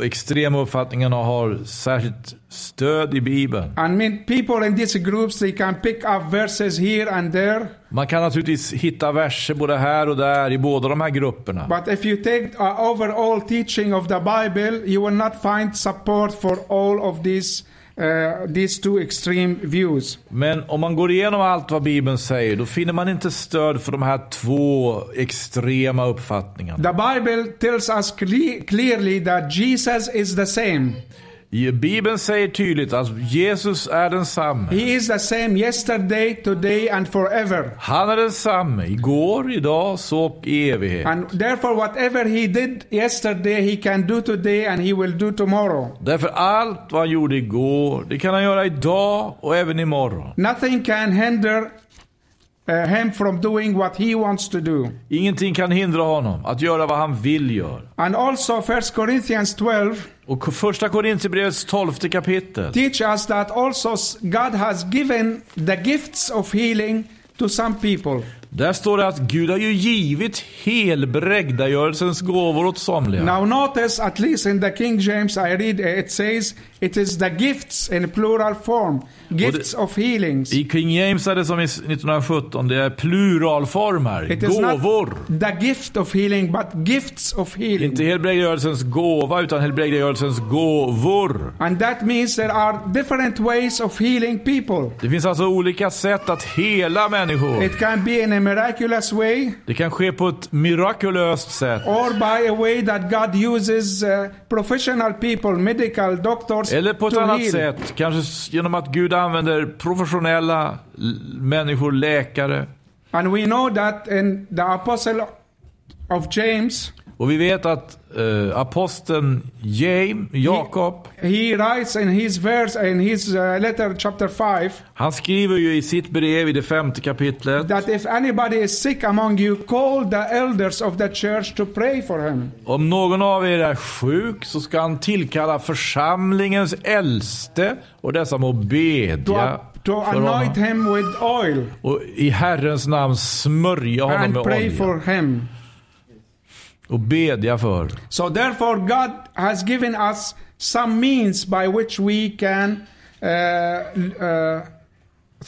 Speaker 2: eh, extrema uppfattningarna har särskilt stöd i Bibeln.
Speaker 1: And mean people in these groups they can pick up verses here and there.
Speaker 2: Man kan naturligtvis hitta verser både här och där i båda de här grupperna.
Speaker 1: But if you take uh, overall teaching of the Bible, you will not find support for all of these uh, these two extreme views.
Speaker 2: Men om man går igenom allt vad Bibeln säger, då finner man inte stöd för de här två extrema uppfattningarna.
Speaker 1: The Bible tells us cle- clearly that Jesus is the same.
Speaker 2: I- Bibeln säger tydligt att Jesus är densamme.
Speaker 1: He is the same yesterday, today, and forever.
Speaker 2: Han är densamme igår, idag, så och i evighet.
Speaker 1: And therefore, whatever he did yesterday, he can do today, and he will do tomorrow.
Speaker 2: Därför allt vad han gjorde igår, det kan han göra idag och även imorgon.
Speaker 1: Nothing can hinder uh, him from doing what he wants to do.
Speaker 2: Ingenting kan hindra honom att göra vad han vill göra.
Speaker 1: And also 1 Corinthians 12
Speaker 2: Och k- första Korintierbrevets tolfte kapitel.
Speaker 1: teach us that also s- God has given the gifts of healing to some people.
Speaker 2: Där står det att Gud har ju givit helbrägdagörelsens gåvor åt somliga.
Speaker 1: Now notice at least in the King James I read uh, it says it is the gifts in plural form gifts of healings.
Speaker 2: I King James är det som i s- 1917, det är pluralform här.
Speaker 1: It is not
Speaker 2: Gåvor.
Speaker 1: the gift of healing but gifts of
Speaker 2: Inte
Speaker 1: healing.
Speaker 2: helbrägdagörelsens gåva, utan helbrägdagörelsens gåvor.
Speaker 1: And that means there are different ways of healing people.
Speaker 2: Det finns alltså olika sätt att hela människor.
Speaker 1: It can be in a miraculous way
Speaker 2: Det kan ske på ett mirakulöst sätt.
Speaker 1: or by a way that God uses uh, professional people, medical doctors
Speaker 2: Eller på ett
Speaker 1: to
Speaker 2: annat
Speaker 1: heal.
Speaker 2: sätt, kanske s- genom att Gud använder professionella l- människor, läkare.
Speaker 1: And we know that in the apostle of James,
Speaker 2: Och vi vet att eh, aposteln James, Jakob,
Speaker 1: he writes in his verse in his uh, letter chapter 5
Speaker 2: han skriver ju i sitt brev i det femte kapitlet.
Speaker 1: that if anybody is sick among you, call the elders of the church to pray for him.
Speaker 2: Om någon av er är sjuk så ska han tillkalla församlingens äldste och dessa må
Speaker 1: To,
Speaker 2: bedja
Speaker 1: to
Speaker 2: för
Speaker 1: anoint
Speaker 2: honom.
Speaker 1: him with oil
Speaker 2: Och i Herrens namn smörja honom
Speaker 1: and
Speaker 2: med
Speaker 1: pray
Speaker 2: olja
Speaker 1: for him.
Speaker 2: och bedja för.
Speaker 1: So therefore, God has given us some means by which we can, uh, uh,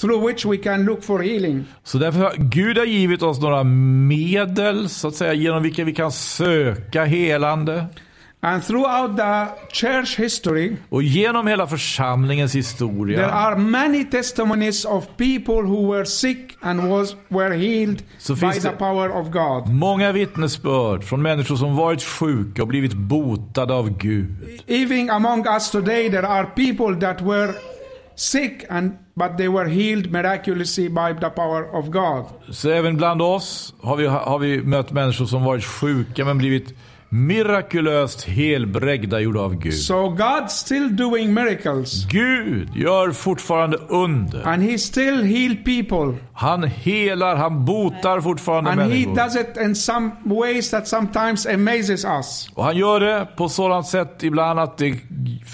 Speaker 1: through which we can look for healing.
Speaker 2: Så därför har Gud har givit oss några medel så att säga genom vilka vi kan söka helande.
Speaker 1: And throughout the church history,
Speaker 2: Och genom hela församlingens
Speaker 1: there
Speaker 2: historia
Speaker 1: are many testimonies of people who were sick and was were healed
Speaker 2: So
Speaker 1: by
Speaker 2: finns
Speaker 1: the
Speaker 2: det-
Speaker 1: power of God.
Speaker 2: Många vittnesbörd från människor som varit sjuka och blivit botade av Gud.
Speaker 1: Even among us today, there are people that were sick and but they were healed miraculously by the power of God.
Speaker 2: Så även bland oss har vi, har vi mött människor som varit sjuka men blivit mirakulöst helbrägda gjorda av Gud.
Speaker 1: So God's still doing miracles
Speaker 2: Gud gör fortfarande under.
Speaker 1: and he still heal people
Speaker 2: Han helar, han botar fortfarande
Speaker 1: and he
Speaker 2: människor.
Speaker 1: does it in some ways that sometimes amazes us.
Speaker 2: Och han gör det på sådant sätt ibland att det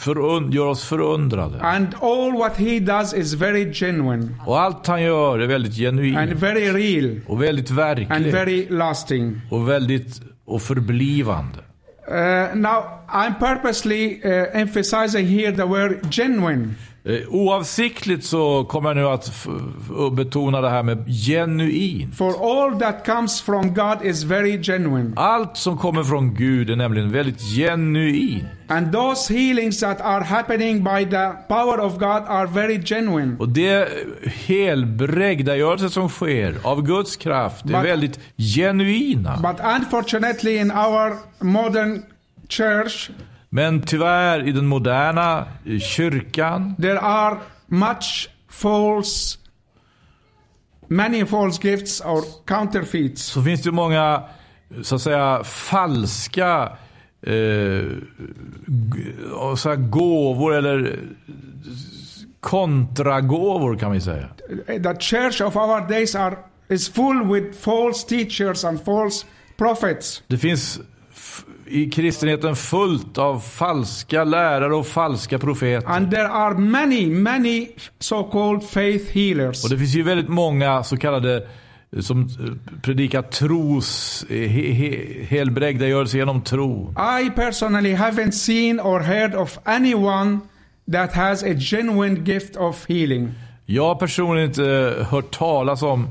Speaker 2: förund- gör oss förundrade.
Speaker 1: And all what he does is very genuine
Speaker 2: Och allt han gör är väldigt
Speaker 1: and
Speaker 2: genuint.
Speaker 1: very real
Speaker 2: Och väldigt
Speaker 1: and
Speaker 2: verkligt.
Speaker 1: very lasting.
Speaker 2: Och väldigt och förblivande.
Speaker 1: Uh, now, I'm purposely uh, emphasizing here the word genuine
Speaker 2: Eh, Oavsiktligt så kommer jag nu att f- f- betona det här med genuin.
Speaker 1: for all that comes from God is very genuine.
Speaker 2: Allt som kommer från Gud är nämligen väldigt genuin.
Speaker 1: And those healings that are happening by the power of God are very genuine.
Speaker 2: Och det helbrägdagörelse som sker av Guds kraft är
Speaker 1: Men-
Speaker 2: väldigt genuina.
Speaker 1: But unfortunately, in our modern church,
Speaker 2: Men tyvärr i den moderna eh, kyrkan
Speaker 1: there are much false, many false gifts or counterfeits.
Speaker 2: så finns det ju många så att säga falska eh, g- och så här gåvor eller eh, kontragåvor kan vi säga.
Speaker 1: The church of our days are is full with false teachers and false prophets.
Speaker 2: Det finns f- i kristenheten fullt av falska lärare och falska profeter.
Speaker 1: And there are many, many so-called faith healers.
Speaker 2: Och det finns ju väldigt många så kallade eh, som eh, predikar tros, eh, he, he, helbrägdagörelse genom tro.
Speaker 1: I personally haven't seen or heard of anyone that has a genuine gift of healing.
Speaker 2: Jag har personligen inte eh, hört talas om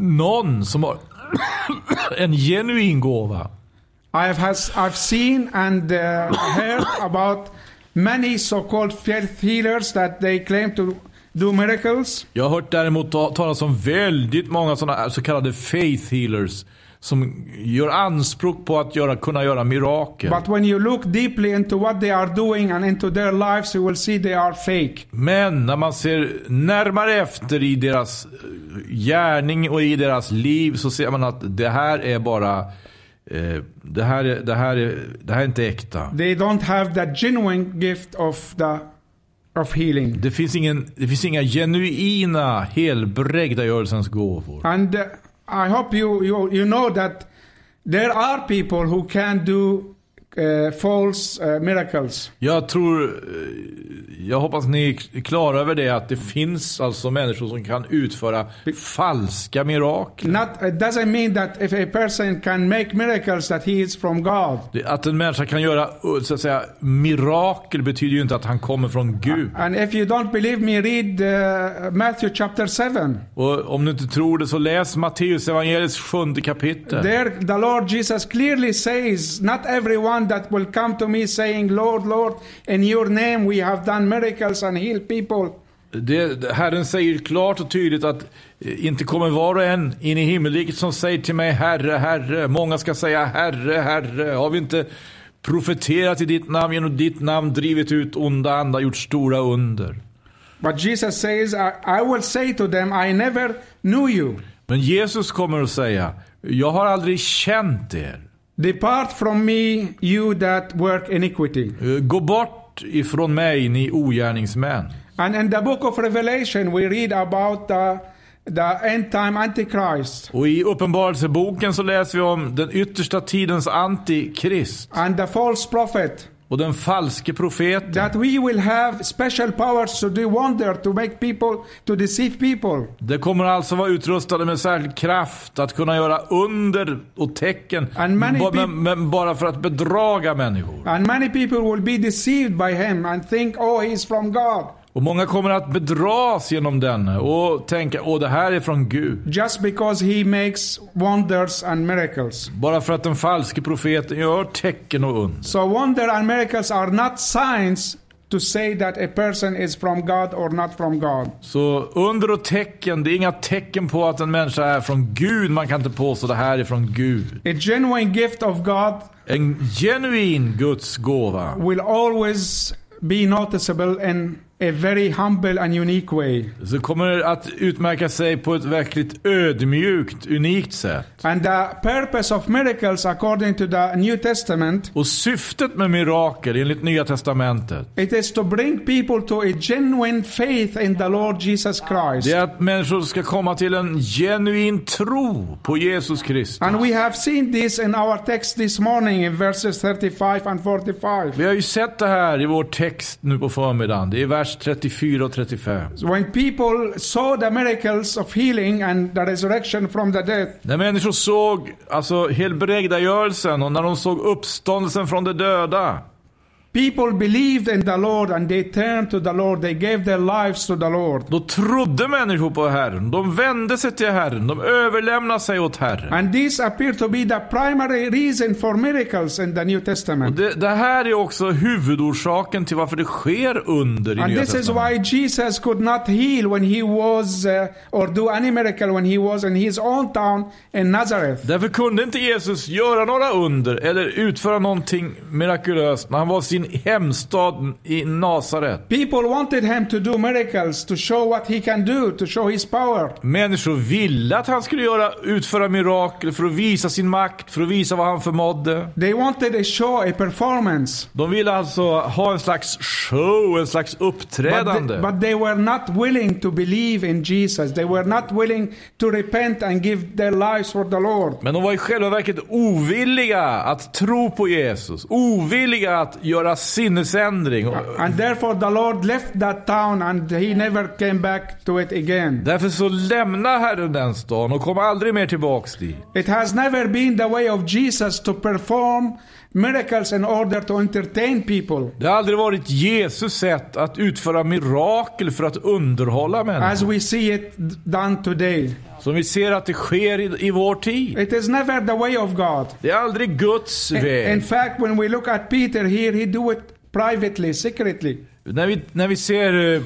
Speaker 2: någon som har en genuin gåva.
Speaker 1: I've has I've seen and uh, heard about many so-called faith healers that they claim to do miracles,
Speaker 2: Jag har hört däremot ta- talas om väldigt många sådana så kallade faith healers. Som gör anspråk på att göra, kunna göra mirakel.
Speaker 1: but when you look deeply into what they are doing and into their lives, you will see they are fake.
Speaker 2: Men när man ser närmare efter i deras eh, gärning och i deras liv så ser man att det här är bara... eh, Det här är, det här är, det här är inte äkta.
Speaker 1: They don't have that genuine gift of the of healing.
Speaker 2: Det finns, ingen, det finns inga genuina helbrägdagörelsens gåvor.
Speaker 1: And uh, I hope you, you you know that there are people who can do uh, false uh, miracles.
Speaker 2: Jag tror... eh, Jag hoppas ni är klara över det att det finns alltså människor som kan utföra falska mirakel.
Speaker 1: Not it doesn't mean that if a person can make miracles that he is from God.
Speaker 2: Det- Att en människa kan göra eh, så att säga, mirakel betyder ju inte att han kommer från Gud.
Speaker 1: And if you don't believe me, read uh, Matthew chapter 7.
Speaker 2: Och om du inte tror det så läs Matteus evangeliets sjunde kapitel.
Speaker 1: There, the Lord Jesus clearly says, Not everyone that will come to me saying, Lord, Lord, in your name we have done miracles and healed people.
Speaker 2: Det, herren säger klart och tydligt att eh, inte kommer var och en in i himmelriket som säger till mig Herre, Herre. Många ska säga Herre, Herre. Har vi inte profeterat i ditt namn, genom ditt namn drivit ut onda andar, gjort stora under?
Speaker 1: But Jesus says, I, I will say to them, I never knew you.
Speaker 2: Men Jesus kommer att säga, jag har aldrig känt er.
Speaker 1: Depart from me, you that work iniquity.
Speaker 2: Eh, Gå bort ifrån mig, ni ogärningsmän.
Speaker 1: And in the book of Revelation, we read about the, the end time Antichrist
Speaker 2: Och i Uppenbarelseboken så läser vi om den yttersta tidens antikrist
Speaker 1: and the false prophet.
Speaker 2: och den falske profeten.
Speaker 1: that we will have special powers to do wonder to make people to deceive people
Speaker 2: De kommer alltså vara utrustade med särskild kraft att kunna göra under och tecken.
Speaker 1: And many
Speaker 2: ba-
Speaker 1: peop-
Speaker 2: men, men bara för att bedraga människor.
Speaker 1: and many people will be deceived by him and think oh he's from god
Speaker 2: Och många kommer att bedras genom denne och tänka åh det här är från Gud.
Speaker 1: just because he makes wonders and miracles
Speaker 2: Bara för att den falske profeten gör tecken och under.
Speaker 1: so wonder and miracles are not signs to say that a person is from god or not from god
Speaker 2: Så under och tecken, det är inga tecken på att en människa är från Gud. Man kan inte påstå det här är från Gud.
Speaker 1: a genuine gift of god
Speaker 2: En genuin Guds gåva
Speaker 1: will always be noticeable in a very humble and unique way.
Speaker 2: Så kommer att utmärka sig på ett verkligt ödmjukt, unikt sätt.
Speaker 1: And the purpose of miracles, according to the New Testament,
Speaker 2: Och syftet med mirakel enligt Nya Testamentet,
Speaker 1: it is to bring people to a genuine faith in the Lord Jesus Christ.
Speaker 2: det är att människor ska komma till en genuin tro på Jesus Kristus.
Speaker 1: And we have seen this in our text this morning in verses 35 and 45.
Speaker 2: Vi har ju sett det här i vår text nu på förmiddagen. Det är vers 34 och 35.
Speaker 1: When people saw the miracles of healing and the resurrection from the dead,
Speaker 2: När människor såg alltså helbrägdagörelsen och när de såg uppståndelsen från de döda.
Speaker 1: people believed in the Lord and they turned to the Lord. They gave their lives to the Lord.
Speaker 2: Då trodde människor på Herren. De vände sig till Herren. De överlämnade sig åt Herren.
Speaker 1: And these appear to be the primary reason for miracles in the New Testament.
Speaker 2: Det, det här är också huvudorsaken till varför det sker under i
Speaker 1: And
Speaker 2: Nya
Speaker 1: this is
Speaker 2: Testamentet.
Speaker 1: why Jesus could not heal when he was, uh, or do any miracle when he was in his own town in Nazareth.
Speaker 2: Därför kunde inte Jesus göra några under eller utföra någonting mirakulöst när han var i sin hemstad i Nasaret.
Speaker 1: People wanted him to do miracles to show what he can do, to show his power.
Speaker 2: Människor ville att han skulle göra, utföra mirakel för att visa sin makt, för att visa vad han förmådde.
Speaker 1: They wanted a show, a performance.
Speaker 2: De ville alltså ha en slags show, en slags
Speaker 1: But
Speaker 2: uppträdande.
Speaker 1: they, but they were not willing to believe in Jesus. They were not willing to repent and give their lives for the Lord.
Speaker 2: Men de var i själva verket ovilliga att tro på Jesus. Ovilliga att göra sinnesändring. Och
Speaker 1: And therefore the Lord left that town and he never came back to it again.
Speaker 2: Därför så lämnar Herren den stan och kom aldrig mer tillbaks dit.
Speaker 1: It has never been the way of Jesus to perform miracles in order to entertain people.
Speaker 2: Det har aldrig varit Jesus sätt att utföra mirakel för att underhålla människor.
Speaker 1: As we see it done today,
Speaker 2: Som vi ser att det sker i, i vår tid.
Speaker 1: it is never the way of God.
Speaker 2: Det är aldrig Guds
Speaker 1: In- In
Speaker 2: väg.
Speaker 1: fact, when we look at Peter here, he do it privately, secretly.
Speaker 2: När vi, när vi ser eh,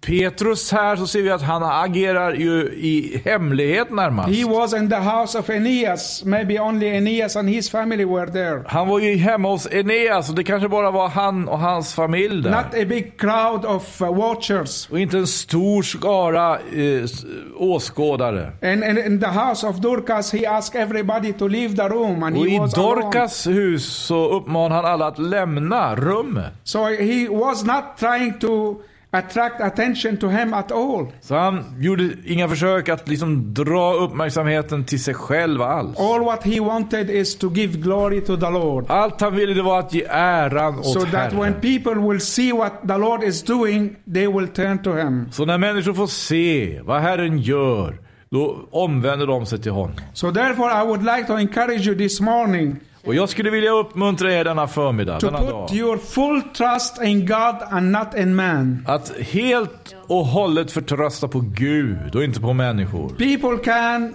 Speaker 2: Petrus här så ser vi att han agerar ju i hemlighet närmast.
Speaker 1: He was in the house of Aeneas. Maybe only Aeneas and his family were there.
Speaker 2: Han var ju hemma hos Eneas och det kanske bara var han och hans familj där.
Speaker 1: Not a big crowd of uh, watchers.
Speaker 2: Och inte en stor skara eh, s- åskådare.
Speaker 1: And, and in the house of Dorcas, he asked everybody to leave the room, and
Speaker 2: Och
Speaker 1: he
Speaker 2: i
Speaker 1: was alone.
Speaker 2: Dorcas hus så uppmanar han alla att lämna rummet.
Speaker 1: So he was not trying to attract attention to him at all.
Speaker 2: Så han gjorde inga försök att liksom dra uppmärksamheten till sig själv alls.
Speaker 1: All what he wanted is to give glory to the Lord,
Speaker 2: Allt han ville det var att ge äran åt
Speaker 1: so that when
Speaker 2: Herren.
Speaker 1: people will see what the Lord is doing, they will turn to him.
Speaker 2: Så när människor får se vad Herren gör, då omvänder de sig till honom.
Speaker 1: So therefore, I would like to encourage you this morning
Speaker 2: Och jag skulle vilja uppmuntra er denna förmiddag,
Speaker 1: to
Speaker 2: denna dag.
Speaker 1: put your full trust in God and not in man.
Speaker 2: Att helt och hållet förtrösta på Gud och inte på människor.
Speaker 1: People can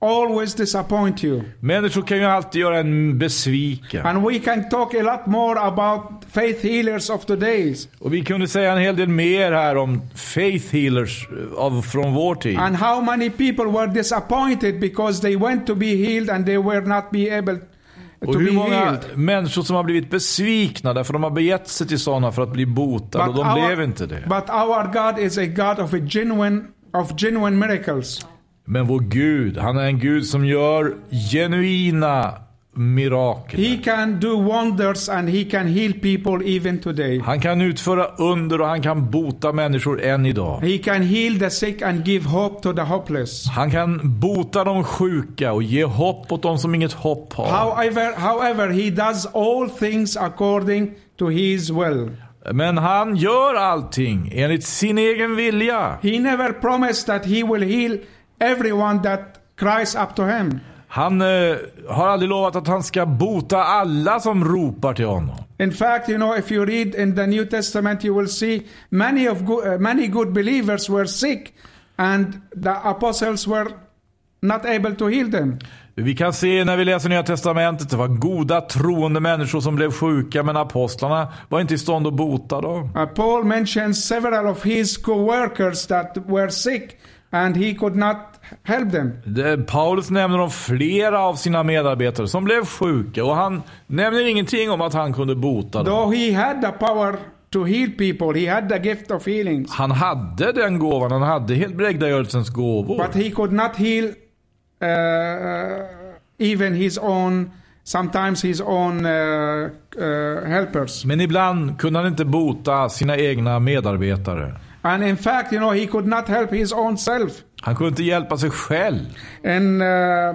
Speaker 1: always disappoint you.
Speaker 2: Människor kan ju alltid göra en besviken.
Speaker 1: And we can talk a lot more about faith healers of today
Speaker 2: Och vi kunde säga en hel del mer här om faith healers eh, av, från vår tid.
Speaker 1: and how many people were disappointed because they went to be healed and they were not be able
Speaker 2: Och
Speaker 1: to
Speaker 2: hur
Speaker 1: be
Speaker 2: många
Speaker 1: healed.
Speaker 2: människor som har blivit besvikna därför de har begett sig till sådana för att bli botade och de blev inte det.
Speaker 1: but our God is a God of a genuine of genuine miracles.
Speaker 2: Men vår Gud, han är en Gud som gör genuina mirakel.
Speaker 1: He can do wonders and he can heal people even today.
Speaker 2: Han kan utföra under och han kan bota människor än idag.
Speaker 1: He can heal the sick and give hope to the hopeless.
Speaker 2: Han kan bota de sjuka och ge hopp åt de som inget hopp har.
Speaker 1: However, however, he does all things according to his will.
Speaker 2: Men han gör allting enligt sin egen vilja.
Speaker 1: He never promised that he will heal everyone that cries up to him.
Speaker 2: Han eh, har aldrig lovat att han ska bota alla som ropar till honom.
Speaker 1: In fact, you know, if you read in the New Testament, you will see many of go- uh, many good believers were sick, and the apostles were not able to heal them.
Speaker 2: Vi kan se när vi läser Nya Testamentet, det var goda troende människor som blev sjuka men apostlarna var inte i stånd att bota dem.
Speaker 1: Uh, Paul mentions several of his co-workers that were sick, and he could not help them.
Speaker 2: Det, Paulus nämner om flera av sina medarbetare som blev sjuka och han nämner ingenting om att han kunde bota dem.
Speaker 1: Though he had the power to heal people. He had the gift of healings,
Speaker 2: Han hade den gåvan, han hade helt brägdagörelsens gåvor.
Speaker 1: but he could not heal uh, even his own, sometimes his own uh, uh, helpers.
Speaker 2: Men ibland kunde han inte bota sina egna medarbetare.
Speaker 1: And in fact, you know, he could not help his own self.
Speaker 2: Han kunde inte hjälpa sig själv.
Speaker 1: In uh,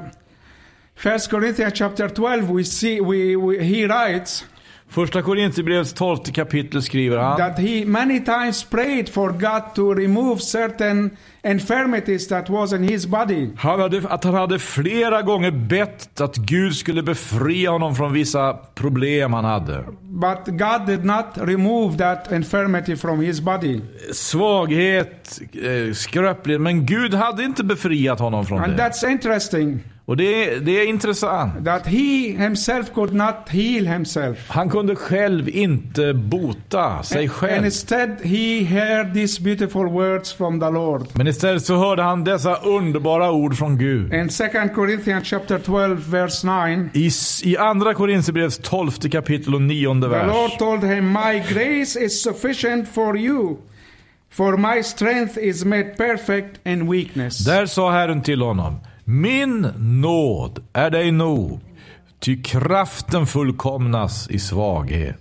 Speaker 1: 1 Corinthians chapter 12, we see, we, we, he writes
Speaker 2: Första Korintierbrevets 12 kapitel skriver han.
Speaker 1: that he many times prayed for God to remove certain infirmities that was in his body.
Speaker 2: Han hade, att han hade flera gånger bett att Gud skulle befria honom från vissa problem han hade.
Speaker 1: But God did not remove that infirmity from his body.
Speaker 2: Svaghet, eh, skröplighet. Men Gud hade inte befriat honom från
Speaker 1: And
Speaker 2: det.
Speaker 1: that's interesting
Speaker 2: Och det är, det är intressant.
Speaker 1: that he himself could not heal himself.
Speaker 2: Han kunde själv inte bota sig
Speaker 1: And
Speaker 2: själv.
Speaker 1: instead, he heard these beautiful words from the Lord.
Speaker 2: Men istället så hörde han dessa underbara ord från Gud.
Speaker 1: In 2 Corinthians chapter 12, verse 9,
Speaker 2: I, s- i andra Korinthierbrevets 12 kapitel och nionde
Speaker 1: the Lord
Speaker 2: vers.
Speaker 1: told him, My grace is sufficient for you, for my strength is made perfect in weakness.
Speaker 2: Där sa Herren till honom. Min nåd är dig nog. Ty kraften fullkomnas i svaghet.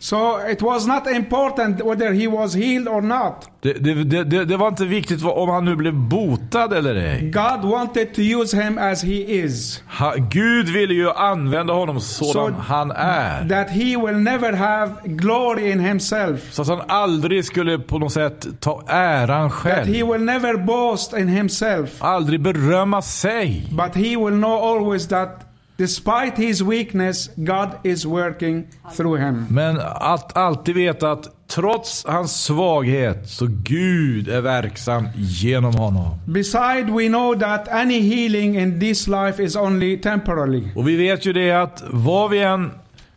Speaker 1: so it was not important whether he was healed or not.
Speaker 2: Det, det, det- det, det var inte viktigt vad- om han nu blev botad eller ej.
Speaker 1: God wanted to use him as he is,
Speaker 2: Ha, Gud ville ju använda honom sådan
Speaker 1: Så- Mm.
Speaker 2: han är.
Speaker 1: that he will never have glory in himself,
Speaker 2: Så att han aldrig skulle på något sätt ta äran
Speaker 1: that
Speaker 2: själv.
Speaker 1: he will never boast in himself,
Speaker 2: Aldrig berömma sig.
Speaker 1: but he will know always that despite his weakness, God is working through him.
Speaker 2: Men att alltid veta att trots hans svaghet så Gud är verksam genom honom.
Speaker 1: Beside, we know that any healing in this life is only temporary.
Speaker 2: Och vi vet ju det att vad vi än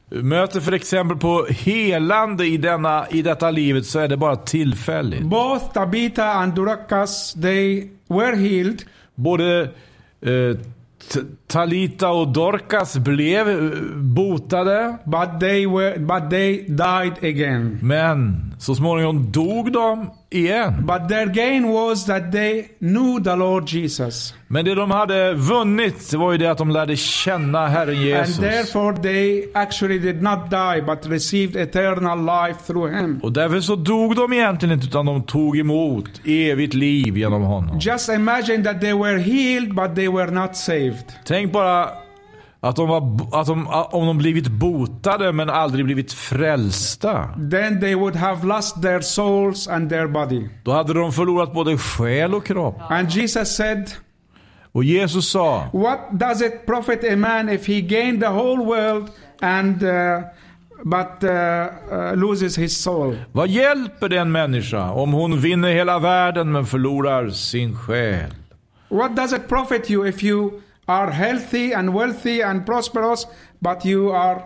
Speaker 2: möter för exempel på helande i, denna, i detta livet så är det bara tillfälligt.
Speaker 1: Both Tabitha and Durakas, they were healed,
Speaker 2: Både eh, T- Talita och Dorcas blev eh, botade.
Speaker 1: but they were, but they died again.
Speaker 2: Men så småningom dog de igen.
Speaker 1: But their gain was that they knew the Lord Jesus,
Speaker 2: Men det de hade vunnit det var ju det att de lärde känna Herren
Speaker 1: and
Speaker 2: Jesus.
Speaker 1: therefore they actually did not die, but received eternal life through Him.
Speaker 2: Och därför så dog de egentligen inte utan de tog emot evigt liv genom honom.
Speaker 1: Just imagine that they were healed, but they were not saved.
Speaker 2: Tänk bara att de var, att de, om de blivit botade men aldrig blivit frälsta.
Speaker 1: Then they would have lost their souls and their body.
Speaker 2: Då hade de förlorat både själ och kropp.
Speaker 1: And Jesus said,
Speaker 2: Och Jesus sa
Speaker 1: What does it profit a man if he gain the whole world and uh, but uh, uh, loses his soul?
Speaker 2: Vad hjälper det en människa om hon vinner hela världen men förlorar sin själ?
Speaker 1: What does it profit you if you are healthy and wealthy and prosperous but you are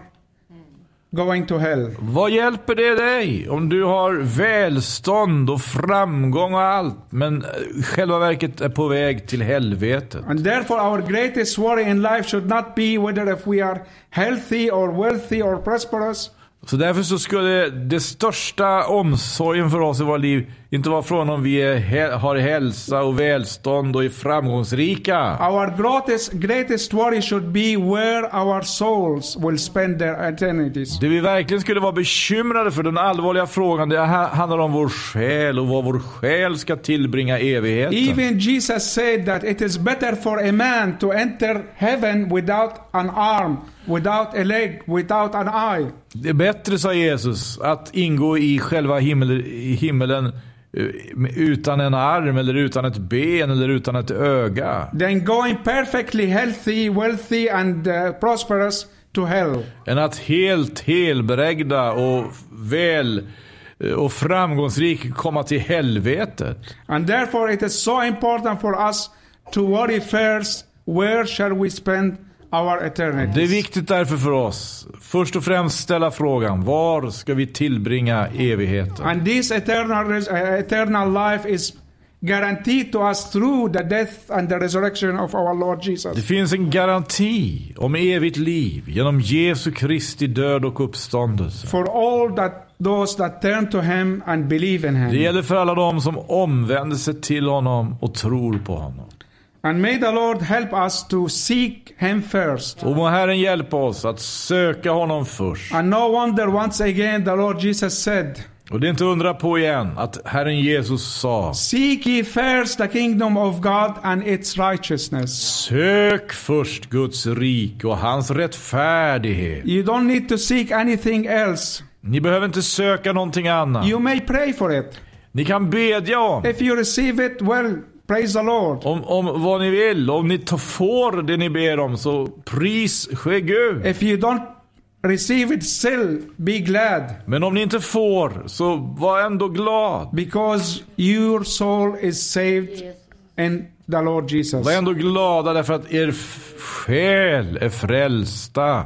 Speaker 1: going to hell?
Speaker 2: Vad hjälper det dig om du har välstånd och framgång och allt men eh, själva verket är på väg till helvetet?
Speaker 1: And therefore, our greatest worry in life should not be whether if we are healthy or wealthy or prosperous,
Speaker 2: Så därför så skulle det största omsorgen för oss i våra liv inte vara från om vi är, hä- har hälsa och välstånd och är framgångsrika.
Speaker 1: Our greatest, greatest worry should be where our souls will spend their eternities.
Speaker 2: Det vi verkligen skulle vara bekymrade för, den allvarliga frågan, det här handlar om vår själ och vad vår själ ska tillbringa i evigheten.
Speaker 1: Even Jesus said that it is better for a man to enter heaven without an arm, without a leg, without an eye,
Speaker 2: Det är bättre, sa Jesus, att ingå i själva himmel, i himmelen eh, utan en arm eller utan ett ben eller utan ett öga.
Speaker 1: than going perfectly healthy, wealthy, and uh, prosperous to hell.
Speaker 2: Än att helt helbrägda och väl eh, och framgångsrik komma till helvetet.
Speaker 1: And therefore, it is so important for us to worry first where shall we spend our
Speaker 2: Det är
Speaker 1: eternities.
Speaker 2: viktigt därför för oss. Först och främst ställa frågan, var ska vi tillbringa evigheten?
Speaker 1: And this eternal, res- uh, eternal life is guaranteed to us through the death and the resurrection of our Lord
Speaker 2: Det
Speaker 1: Jesus.
Speaker 2: finns en garanti om evigt liv genom Jesu Kristi död och uppståndelse.
Speaker 1: For all that those that turn to him and believe in
Speaker 2: Det
Speaker 1: him.
Speaker 2: gäller för alla dem som omvänder sig till honom och tror på honom.
Speaker 1: And may the Lord help us to seek him first.
Speaker 2: Och må Herren hjälpa oss att söka honom först.
Speaker 1: And no wonder once again the Lord Jesus said,
Speaker 2: Och det är inte undra på igen att Herren Jesus sa
Speaker 1: Seek ye first the kingdom of God and its righteousness.
Speaker 2: Sök först Guds rik och hans rättfärdighet.
Speaker 1: You don't need to seek anything else.
Speaker 2: Ni behöver inte söka någonting annat.
Speaker 1: You may pray for it.
Speaker 2: Ni kan bedja om,
Speaker 1: If you receive it, well, praise the Lord.
Speaker 2: om, om vad ni vill. Om ni ta- får det ni ber om så pris ske Gud.
Speaker 1: If you don't receive it, still be glad
Speaker 2: Men om ni inte får så var ändå glad.
Speaker 1: because your soul is saved in the Lord Jesus.
Speaker 2: Var ändå glada därför att er f- själ är frälsta.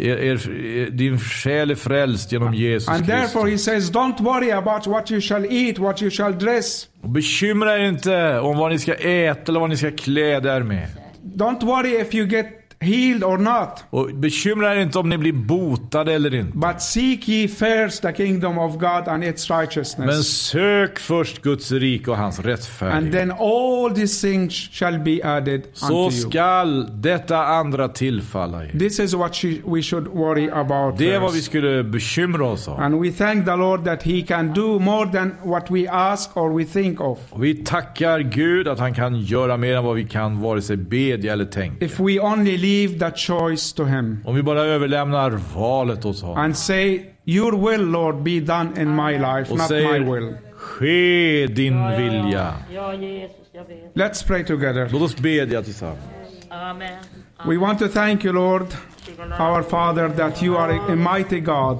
Speaker 2: Er, er, er, din själ är frälst genom Jesus
Speaker 1: And
Speaker 2: Kristus.
Speaker 1: therefore, he says, Don't worry about what you shall eat, what you shall dress.
Speaker 2: Och Bekymra er inte om vad ni ska äta eller vad ni ska klä er med.
Speaker 1: Don't worry if you get healed or not.
Speaker 2: Och bekymra er inte om ni blir botade eller inte.
Speaker 1: But seek ye first the kingdom of God and its
Speaker 2: Men
Speaker 1: righteousness.
Speaker 2: sök först Guds rik och hans
Speaker 1: And
Speaker 2: rättfärdighet.
Speaker 1: then all these things shall be added
Speaker 2: Så
Speaker 1: unto you.
Speaker 2: skall detta andra tillfalla er.
Speaker 1: This is what she, we should worry about.
Speaker 2: Det er, är vad
Speaker 1: first.
Speaker 2: vi skulle bekymra oss om.
Speaker 1: And we thank the Lord that He can do more than what we ask or we think of.
Speaker 2: Och vi tackar Gud att han kan göra mer än vad vi kan vare sig bedja eller tänka.
Speaker 1: If we only leave the choice to Him
Speaker 2: Om vi bara överlämnar valet åt honom
Speaker 1: and say, Your will, Lord, be done in my life,
Speaker 2: och
Speaker 1: not my
Speaker 2: säger
Speaker 1: will.
Speaker 2: Ske din vilja.
Speaker 3: Ja, Jesus, jag vet.
Speaker 1: Let's pray together.
Speaker 2: Låt oss bedja tillsammans.
Speaker 3: Amen.
Speaker 1: We want to thank you, Lord, our Father, that you are a mighty God,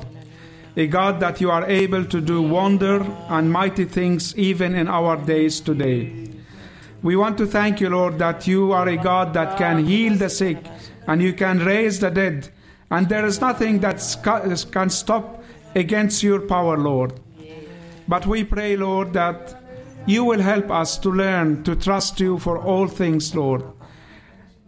Speaker 1: a God that you are able to do wonder and mighty things even in our days today. We want to thank you, Lord, that you are a God that can heal the sick and you can raise the dead, and there is nothing that sc- can stop against your power, Lord. But we pray, Lord, that you will help us to learn to trust you for all things, Lord.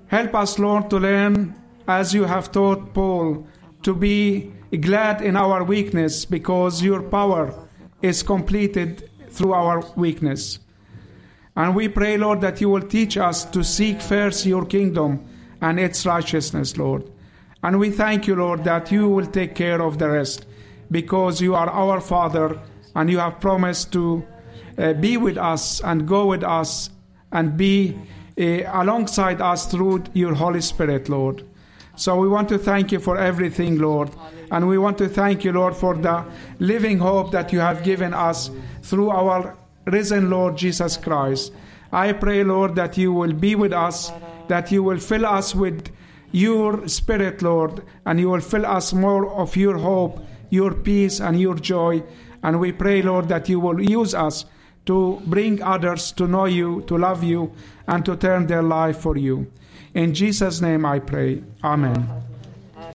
Speaker 1: Help us, Lord, to learn, as you have taught Paul, to be glad in our weakness because your power is completed through our weakness. And we pray, Lord, that you will teach us to seek first your kingdom and its righteousness, Lord. And we thank you, Lord, that you will take care of the rest because you are our Father and you have promised to uh, be with us and go with us and be uh, alongside us through your Holy Spirit, Lord. So we want to thank you for everything, Lord. And we want to thank you, Lord, for the living hope that you have given us through our risen Lord Jesus Christ. I pray, Lord, that you will be with us, that you will fill us with your spirit, Lord, and you will fill us more of your hope, your peace, and your joy. And we pray, Lord, that you will use us to bring others to know you, to love you, and to turn their life for you. In Jesus' name I pray. Amen.